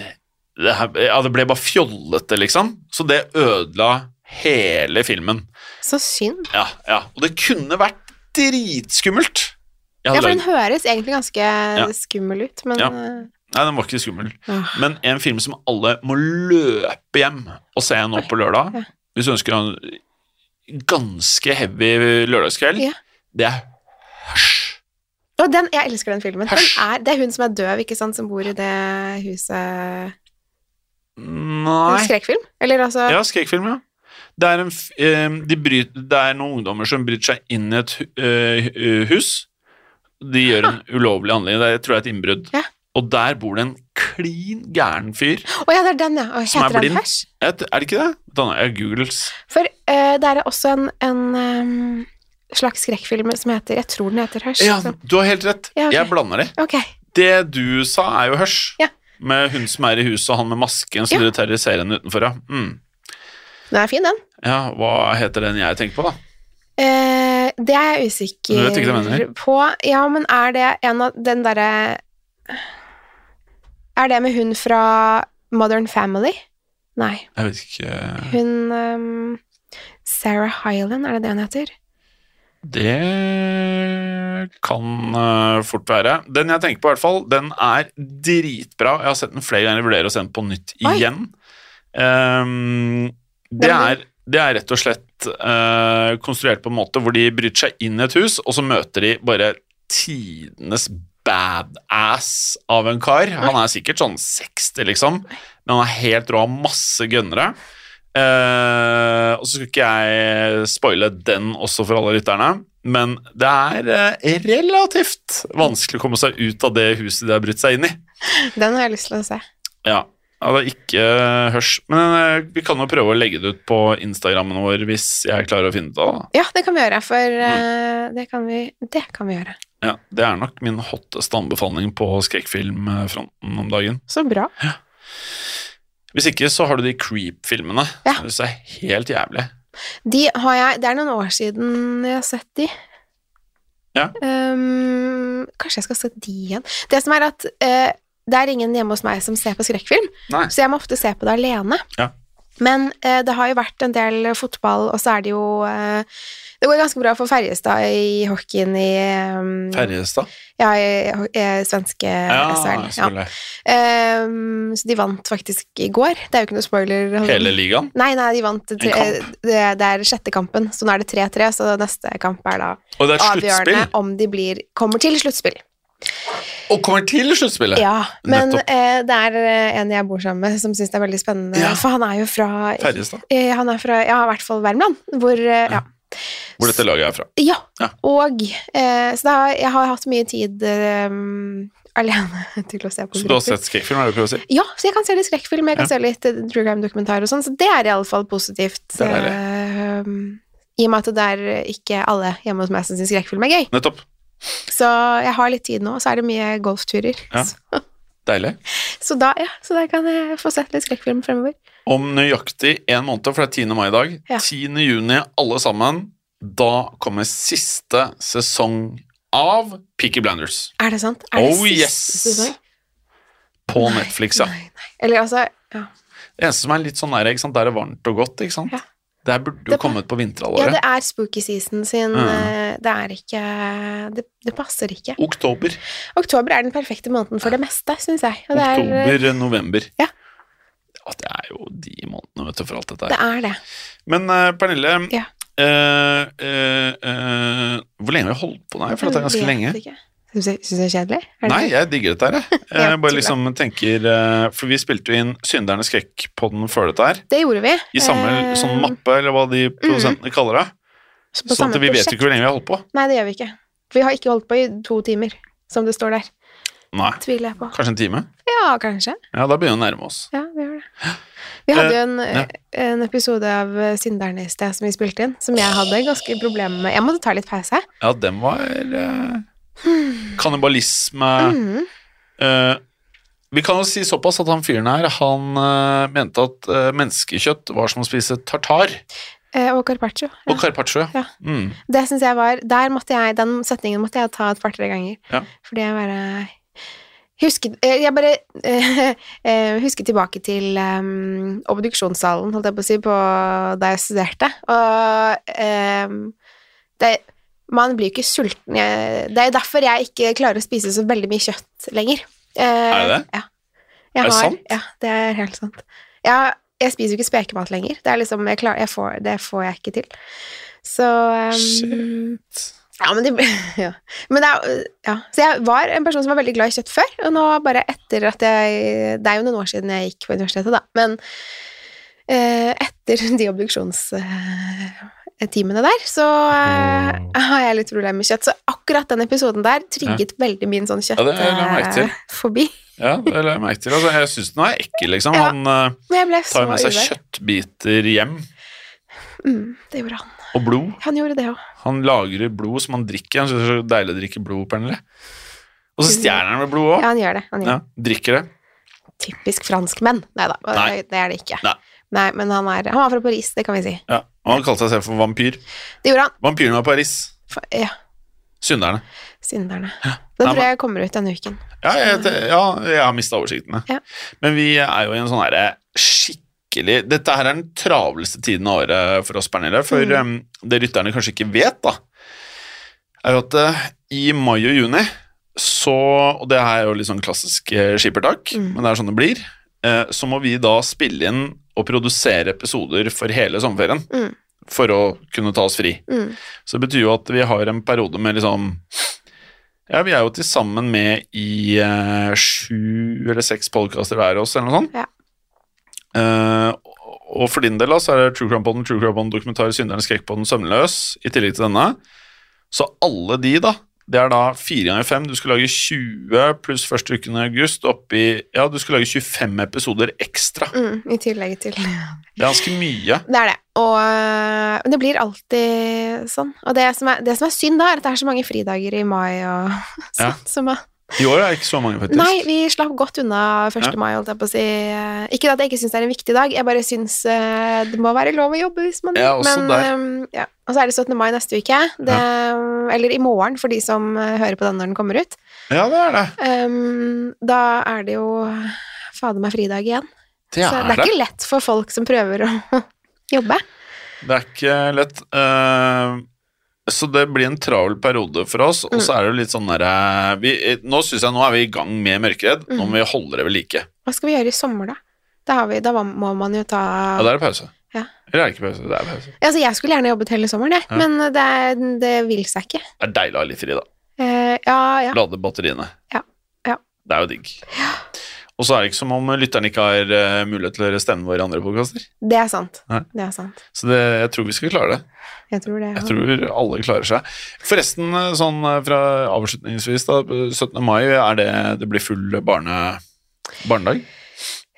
det her Ja, det ble bare fjollete, liksom. Så det ødela hele filmen.
Så synd.
Ja, ja. Og det kunne vært dritskummelt. Jeg
Ja,
hadde
for den
lagd-
høres egentlig ganske skummel ut, men
Ja.
eh,
Nei, den var ikke skummel.
åh.
Men en film som alle må løpe hjem og se nå på lørdag,
Ja.
hvis du ønsker en ganske heavy lørdagskveld,
Ja.
det er Hush.
Og den, jeg elsker den filmen. Den
Hush.
er, det er hun som er døv, ikke sant, som bor i det huset En
Nei
Skrekkfilm? Eller altså
Ja, skrekkfilm, ja. Det er, en, f- eh, de bryter, det er noen ungdommer som bryter seg inn i et hu- eh, hu- hus. De gjør en ulovlig handling. Det er, tror jeg er et innbrudd.
Ja.
Og der bor det en klin gæren fyr.
Å ja, det er den, ja. Å,
Som er
heter den
blind.
Hush?
Er det er det ikke det? Danne, jeg googles.
For eh, det er også en, en ehm, slags skrekkfilm som heter Jeg tror den heter Hush.
Ja,
som-
du har helt rett.
altså. Ja, ok.
Jeg blander de.
Ok.
Det du sa, er jo Hush.
Ja.
Med hun som er i huset, og han med masken som du
Ja.
terroriserer henne utenfor. Ja. Mm.
Den er fin, den.
ja, hva heter den jeg tenker på, da?
Eh, det er jeg usikker
Du vet ikke hva jeg mener.
på. Ja, men er det en av den derre Er det med hun fra Modern Family? Nei.
Jeg vet ikke
Hun ehm, Sarah Hyland, er det det hun heter?
Det kan eh, fort være. Den jeg tenker på, i hvert fall, den er dritbra. Jeg har sett den flere ganger, jeg vurderer å se den på nytt
Oi.
igjen. Ehm, det,
Hvem
er, det er rett og slett eh, konstruert på en måte hvor de bryter seg inn i et hus, og så møter de bare tidenes badass av en kar. Han er sikkert sånn 60, liksom, men han er helt rå, har masse gønnere. Eh, og så skal ikke jeg spoile den også for alle lytterne, men det er eh, relativt vanskelig å komme seg ut av det huset de har brutt seg inn i.
Den har jeg lyst til å se.
Ja, ja det er ikke eh, hørs. Men eh, vi kan jo prøve å legge det ut på Instagrammen vår hvis jeg klarer å finne ut av det.
Ja, det kan vi gjøre, for
Mm.
eh, det, kan vi, det kan vi gjøre.
Ja, det er nok min hotteste anbefaling på skrekkfilmfronten om dagen.
Så bra.
Hvis ikke så har du de creep-filmene.
Ja.
som Jeg synes er helt jævlig.
De har jeg, det er noen år siden jeg har sett de.
Ja.
Ehm, kanskje jeg skal se de igjen. Det som er at eh, det er ingen hjemme hos meg som ser på skrekkfilm,
Nei.
så jeg må ofte se på det alene.
Ja.
Men eh, det har jo vært en del fotball, og så er det jo eh, Det går ganske bra for Ferjestad i hockeyen i eh,
Ferjestad?
Ja, i, i svenske SHL. Ja.
selvfølgelig.
Ehm, så de vant faktisk i går. Det er jo ikke noe spoiler.
Hele ligaen?
Nei, nei, de vant tre,
kamp?
det, det er sjette kampen, så nå er det 3-3, så neste kamp er da
Og det er et
avgjørende
sluttspill?
om de blir, kommer til sluttspill.
Og kommer til sluttspillet!
Ja, men
Nettopp.
eh, det er eh, en jeg bor sammen med som syns det er veldig spennende,
Ja.
for han er jo fra
Ferjestad,
eh, Han er fra, ja, i hvert fall Värmland, hvor eh, ja.
hvor dette laget er fra.
Ja,
Ja.
og eh, Så da, jeg har hatt mye tid eh, alene til å se på
Så du har
grupper.
sett skrekkfilm, er det du prøver å si?
Ja, så jeg kan se litt skrekkfilm, jeg kan se litt eh, true crime-dokumentar og sånn, så det er iallfall positivt.
Det er
eh, um, I og med at det er ikke alle hjemme hos meg som syns skrekkfilm er gøy.
Nettopp.
Så jeg har litt tid nå, så er det mye golfturer.
Ja.
Så,
Deilig.
så da, ja, så da kan jeg få sett litt skrekkfilm fremover.
Om nøyaktig en måned, for det er 10. mai i dag,
Ja.
10. juni, alle sammen, da kommer siste sesong av Peaky Blinders
Er det sant? Er det
Oh,
siste
yes.
sesong?
på
Nei,
Netflix, ja.
Nei, nei. Eller altså ja.
Det eneste som er litt sånn der, ikke sant, der er varmt og godt, ikke sant?
Ja.
Det her burde
Det
jo
er
kommet på
ja,
vinterhalvåret.
det er spooky season sin
Mm.
eh, Det er ikke det, det passer ikke.
Oktober,
Oktober er den perfekte måneden for det meste, syns jeg. Og det er,
oktober, eh, november.
ja.
Ja, det er jo de månedene, vet du, for alt dette her.
det er det.
Men eh, Pernille,
Ja.
eh, eh, eh, hvor lenge har vi holdt på der? For dette er ganske
Jeg vet
lenge.
ikke. Syns jeg, syns jeg er kjedelig? Er det
Nei,
det?
jeg digger dette her, jeg.
Ja,
jeg bare
tuller.
liksom tenker eh, For vi spilte jo inn Synderne skrekk-podden før dette her.
det gjorde vi.
I samme
Eh,
sånn mappe, eller hva de produsentene kaller det.
så på
Sånn
samme
at vi vet jo
prosjekt.
ikke hvor lenge vi har holdt på.
Nei, det gjør vi ikke. Vi har ikke holdt på i to timer, som det står der.
Nei,
Tviler jeg på.
kanskje en time?
Ja, kanskje.
Ja, da begynner vi å nærme oss.
Ja, vi gjør det. Vi hadde jo en,
Eh,
eh,
ja.
en episode av eh, Synderne i sted som vi spilte inn, som jeg hadde ganske problemer med. Jeg måtte ta litt pause.
Ja, den var eh, Kannibalisme
Mhm.
eh, Vi kan jo si såpass at han fyren her, han eh, mente at eh, menneskekjøtt var som å spise tartar
Eh, Og Carpaccio. Ja.
og carpaccio.
Ja.
Mm.
Det syns jeg var Der måtte jeg Den setningen måtte jeg ta et par-tre ganger.
Ja.
Fordi jeg bare Husket eh, Jeg bare eh, eh, husket tilbake til em, obduksjonssalen, holdt jeg på å si, på da jeg studerte. Og em, det Man blir jo ikke sulten jeg, Det er jo derfor jeg ikke klarer å spise så veldig mye kjøtt lenger. Eh,
Er det det?
Ja. Jeg
Er det
har-
sant?
Ja, det er helt sant. Jeg, jeg spiser jo ikke spekemat lenger. Det er liksom jeg klarer, jeg får, Det får jeg ikke til. Så em,
Shit.
ja, men det, ja. Men det er, ja. Så jeg var en person som var veldig glad i kjøtt før, og nå bare etter at jeg Det er jo noen år siden jeg gikk på universitetet, da, men eh, etter de obduksjonstimene der, så eh,
Mm.
har jeg litt problemer med kjøtt. Så akkurat den episoden der trigget veldig min sånn eh,
Ja, det la jeg merke til.
kjøttfobi.
Ja, det la jeg merke til. Altså, jeg syns den var ekkel, liksom.
Ja.
Han eh,
Men jeg ble så
tar jo med seg
uvær.
kjøttbiter hjem,
Mm, det gjorde han.
og blod.
Han gjorde det òg.
Han lagrer blod som han drikker. Han syns det er så deilig å drikke blod, Pernille. Og så stjeler han med blod
Ja,
òg.
han gjør det. Han gjør
Ja, drikker det.
det. Typisk franskmenn. Nei da,
Nei.
det er det ikke.
Nei.
Nei, men han, er, han var fra Paris, det kan vi si.
Ja. Og han kalte seg selv for vampyr.
Det gjorde han.
Vampyren var i Paris.
For, ja.
Synderne.
Synderne.
Nei,
Den tror
men-
jeg kommer ut denne uken.
Ja, jeg, ja, jeg har mista oversikten. jeg.
Ja.
Men vi er jo i en sånn herre skikkelig Dette her er den travleste tiden av året eh, for oss, Pernille. For
Mm.
em, det lytterne kanskje ikke vet, da, er jo at eh, i mai og juni så Og det her er jo litt sånn klassisk eh, skippertak,
Mm.
men det er sånn det blir. eh, Så må vi da spille inn og produsere episoder for hele sommerferien.
Mm.
For å kunne ta oss fri.
Mm.
Så det betyr jo at vi har en periode med liksom Ja, vi er jo til sammen med i eh, sju eller seks podkaster hver av oss, eller noe sånt.
Ja.
Eh, og for din del da, så er det True Crime Podden, True Crime Podden, Dokumentar, Synderen, Skrekkpodden, Søvnløs, i tillegg til denne. Så alle de, da Det er da fire ganger fem. Du skal lage 20 pluss første uken i august opp i Ja, du skal lage 25 episoder ekstra.
Mm, I tillegg til
Det er ganske mye.
Det er det. Og øh, det blir alltid sånn. Og det som er, det som er synd, da, er at det er så mange fridager i mai og sånn.
Ja.
Som er,
I år er det ikke så mange, faktisk.
nei, vi slapp godt unna 1.
Ja.
mai, holdt jeg på å si. Ikke at jeg ikke syns det er en viktig dag, jeg bare syns øh, det må være lov å jobbe hvis man
Ja, også der.
øhm, ja. Og så er det 17. mai neste uke. Det, Eller i morgen, for de som øh, hører på den når den kommer ut.
Ja, det er det.
Ehm, da er det jo fader meg fridag igjen.
Det
Så det er ikke lett for folk som prøver å jobbe.
Det er ikke lett. Eh, Så det blir en travel periode for oss, og
Mm.
så er det jo litt sånn derre vi- eh, Nå syns jeg nå er vi i gang med Mørkeredd,
Mm.
nå må vi holde det ved like.
Hva skal vi gjøre i sommer, da? Da, har vi, da må man jo ta
Ja, da er det pause.
Ja.
Eller er det ikke pause? Det er pause.
Altså, jeg skulle gjerne jobbet hele sommeren, jeg,
Ja.
men det, er- det vil seg ikke.
Det er deilig å ha litt fri, da.
Eh, ja, ja.
Lade batteriene.
Ja, ja.
Det er jo digg. Og så er det ikke som om lytteren ikke har eh, mulighet til å høre stemmen vår i andre podkaster.
Det er sant.
Nei.
Det er sant.
Så det, jeg tror vi skal klare det.
Jeg tror det.
Jeg tror alle klarer seg. Forresten, eh, sånn eh, fra avslutningsvis, da, eh, 17. mai, er det det blir full barne, barnedag?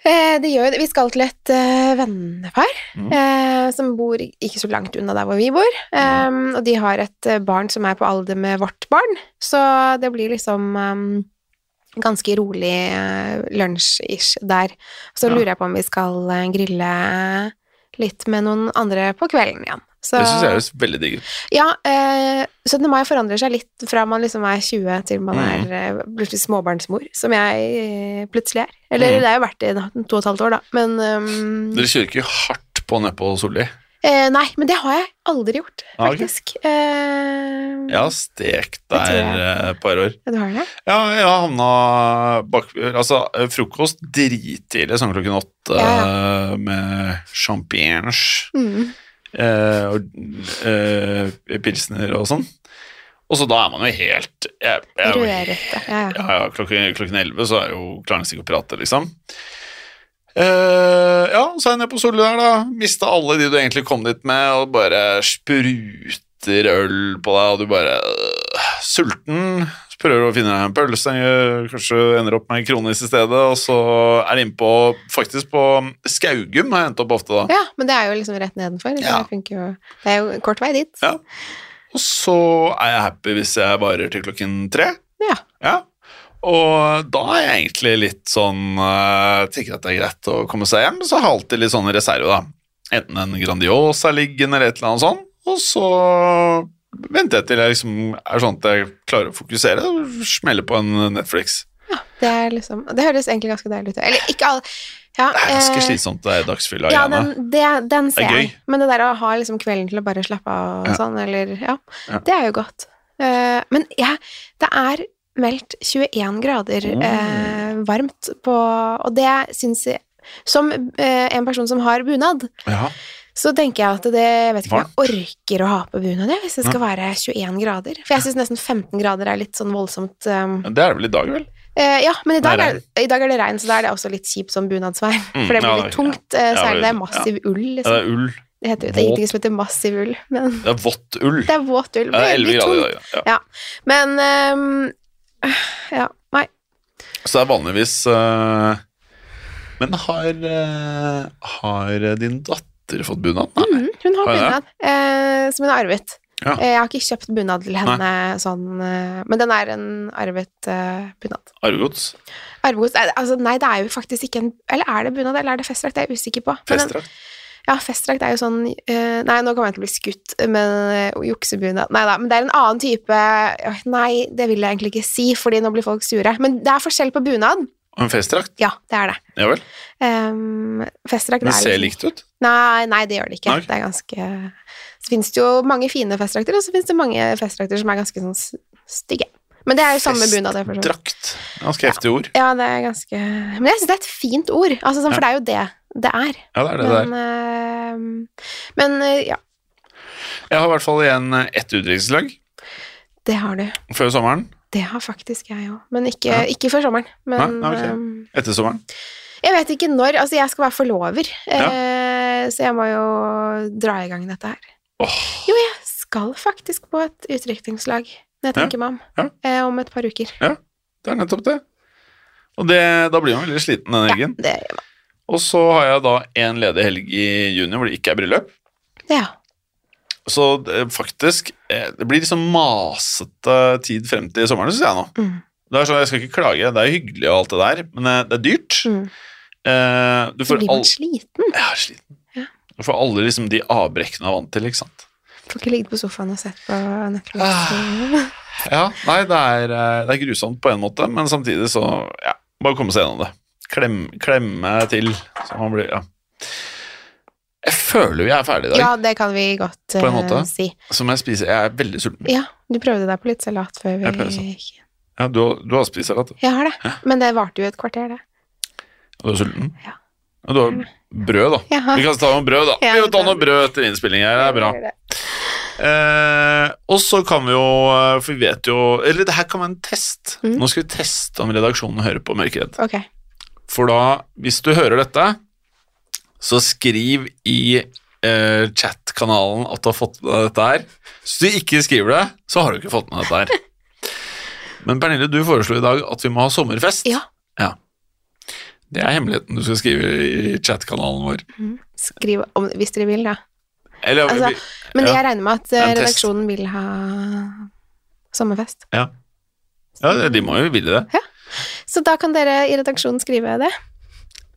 Eh, det gjør jo det. Vi skal til et eh, vennepar
Mm.
eh, som bor ikke så langt unna der hvor vi bor.
Mm.
Eh, og de har et eh, barn som er på alder med vårt barn, så det blir liksom eh, ganske rolig eh, lunsj-ish der. Så
Ja.
lurer jeg på om vi skal eh, grille litt med noen andre på kvelden igjen. Så,
Det syns jeg høres veldig digg ut.
Ja, eh, 17. mai forandrer seg litt fra man liksom er 20 til man
Mm.
er eh, plutselig småbarnsmor, som jeg eh, plutselig er. Eller
Mm.
det har jo vært i da, to og et halvt år, da. Men ehm,
Dere kjører ikke hardt på nedpå Solli?
eh, Nei, men det har jeg aldri gjort,
Ah, ok.
faktisk. Eh,
Jeg har stekt
Det tror jeg.
der eh, et par år.
ja, Du har det?
Ja, jeg har havna bak Altså, eh, frokost drittidlig, sånn klokken åtte,
Ja,
eh, med champignons.
Mm.
eh, og eh, pilsner og sånn. Og så da er man jo helt jeg, jeg, er jo
Rødrette. Ja, ja.
Ja, ja, klokken, klokken 11 så er jo klarer nesten ikke å prate, liksom. Eh, ja, så er jeg nede på Solli der, da. Mista alle de du egentlig kom dit med, og bare spruter øl på deg, og du bare øh, Sulten. Så prøver du å finne deg en pølse, eh, kanskje ender opp med en kronis i stedet, og så er det innpå Faktisk på Skaugum har jeg endt opp ofte, da.
ja, men det er jo liksom rett nedenfor. så
Ja.
Det, funker jo, det er jo kort vei dit.
Ja. Og så er jeg happy hvis jeg varer til klokken tre.
Ja.
Ja. Og da er jeg egentlig litt sånn eh, Tenker at det er greit å komme seg hjem, så har jeg alltid litt sånn reserve, da. Enten en Grandiosa liggende eller et eller annet sånn. Og så venter jeg til jeg liksom er sånn at jeg klarer å fokusere, og smeller på en Netflix.
Det, er liksom, det høres egentlig ganske deilig ut. Eller ikke alle ja,
Det er ganske
eh,
slitsomt, det er dagsfylla
Ja,
greiene.
den, det, den ser
Det er
jeg.
gøy.
Men det der å ha liksom kvelden til å bare slappe av og
Ja.
sånn, eller ja,
Ja.
det er jo godt. Eh, men jeg- det er meldt 21 grader
Oh.
eh, varmt på Og det syns jeg Som eh, en person som har bunad,
Ja.
så tenker jeg at det Jeg vet ikke om jeg orker å ha på bunad jeg, hvis det skal være 21 grader. For jeg syns nesten 15 grader er litt sånn voldsomt eh,
Det er det vel i dag, vel?
Eh, ja, men i dag,
Det er
er, i dag er det regn, så da er det også litt kjipt som bunadsvær.
Mm,
For
ja,
det blir
det
litt
er- ja.
tungt. eh,
Ja,
så er det, det er
det-
massiv ull,
Ja, Det
liksom.
er ull.
Det heter jo det er
Våt.
ingenting som heter massiv ull, men
Det er vått ull.
det er våt ull.
Det er
men det
11
blir
grader i
tungt.
dag, ja.
Men ehm, ja, nei.
Så det er vanligvis eh, Men har, eh, har din datter fått bunad? Nei.
Mhm, hun har
Har jeg det?
bunad eh, som hun har arvet.
Ja.
Eh, jeg har ikke kjøpt bunad til henne sånn, eh, men den er en arvet eh, bunad.
Arvegods?
Arvegods er det- Altså, nei, det er jo faktisk ikke en Eller er det bunad, eller er det festdrakt? Det er jeg usikker på. Men den-
Festdrakt?
Ja, festdrakt er jo sånn eh, Nei, nå kommer jeg til å bli skutt, men uh, juksebunad Nei da, men det er en annen type Åh, Nei, det vil jeg egentlig ikke si, fordi nå blir folk sure. Men det er forskjell på bunad.
En festdrakt?
Ja, det er det.
Ja vel.
Um, festdrakt
Det
er
ser
liksom-
likt ut.
Nei, nei, det gjør det ikke.
Nei.
Det er ganske Så fins det jo mange fine festdrakter, og så fins det mange festdrakter som er ganske sånn s- stygge. Men det er jo samme bunad. det er for så vidt.
Festdrakt. Ganske heftig ord.
Ja, det er ganske Men jeg syns det er et fint ord, altså, sånn, for det er jo det det er.
Ja, det er det
Men,
der.
eh, men eh, ja,
Jeg har i hvert fall igjen eh, ett utdrikningslag
det har du.
før sommeren.
Det har faktisk jeg òg, men ikke,
Ja.
ikke før sommeren. Men
Nei, nei, ok.
ehm,
Etter sommeren.
jeg vet ikke når. Altså, jeg skal være forlover,
Ja.
eh, så jeg må jo dra i gang dette her.
Åh,
Jo, jeg skal faktisk på et utdrikningslag når jeg
Ja.
tenker meg om,
Ja.
eh, om et par uker.
det er nettopp det. Og det, da blir man veldig sliten den
Ja,
helgen.
det,
Og så har jeg da en ledig helg i juni hvor det ikke er bryllup.
ja.
Så det, faktisk, eh, det blir liksom masete tid frem til sommeren, syns jeg nå.
Mm.
Det er sånn, Jeg skal ikke klage, det er hyggelig og alt det der, men eh, det er dyrt.
Mm.
Eh, du
Så
får
blir
all...
man sliten.
Jeg er sliten.
Ja.
Du får alle liksom de avbrekkene du er vant til, ikke sant.
Får ikke ligge på sofaen og sett på Netflix.
Ah. Ja, nei, det er, eh, det er grusomt på en måte, men samtidig så ja, Bare komme seg gjennom det. Klem, klemme til. Så man blir, ja. Jeg føler jo jeg er ferdig i dag.
Ja, det kan vi godt
På en
eh,
måte.
si.
Så må jeg spise. Jeg er veldig sulten.
Ja, du prøvde deg på litt salat før vi
Jeg prøvde sånn.
gikk.
Ja, du, har- du har spist salat,
Jeg har det, men det varte jo et kvarter, det.
og du er sulten.
Ja.
Og du har brød, da.
Ja.
Vi kan ta noe brød, da.
Ja,
vi kan ta
det-
noe brød etter innspilling her, det er bra. Eh, og så kan vi jo, eh, for vi vet jo Eller det her kan være en test.
Mm.
Nå skal vi teste om redaksjonen hører på Mørkeredd.
Ok.
For da, hvis du hører dette, så skriv i eh, chat-kanalen at du har fått med deg dette her. Hvis du ikke skriver det, så har du ikke fått med deg dette her. Men Pernille, du foreslo i dag at vi må ha sommerfest.
Ja.
Det er hemmeligheten du skal skrive i chat-kanalen vår.
Skriv om, hvis dere vil, da.
Eller,
Altså, Men
Ja.
jeg regner med at
er
eh,
en test.
redaksjonen vil ha sommerfest.
ja. ja, de må jo ville det.
Så da kan dere i redaksjonen skrive det.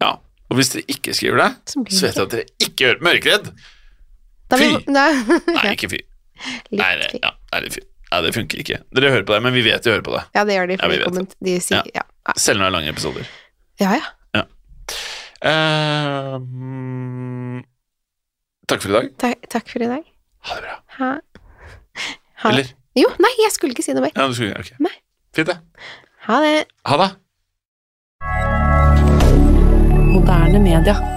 Ja. Og hvis dere ikke skriver det,
Så blir det
så vet jeg at dere ikke hører Mørkeredd.
Da blir,
Fy!
da,
Nei, ikke fy.
litt
Nei, det,
fint.
ja, nei, det, fy. Nei, det funker ikke. Dere hører på det, men vi vet de hører på det.
Ja, det gjør de.
Ja,
For
vi
de
vet
komment, de sier, ja. Ja.
Selv når det er lange episoder.
ja, ja.
Eh, mm, takk for i dag.
Ta, takk for i dag.
Ha det bra.
Ha. Ha.
Eller?
Jo, nei, jeg skulle ikke si noe mer.
Ja, du skulle, ok.
Nei.
Fint, det.
Ha det.
Ha det.
Moderne media.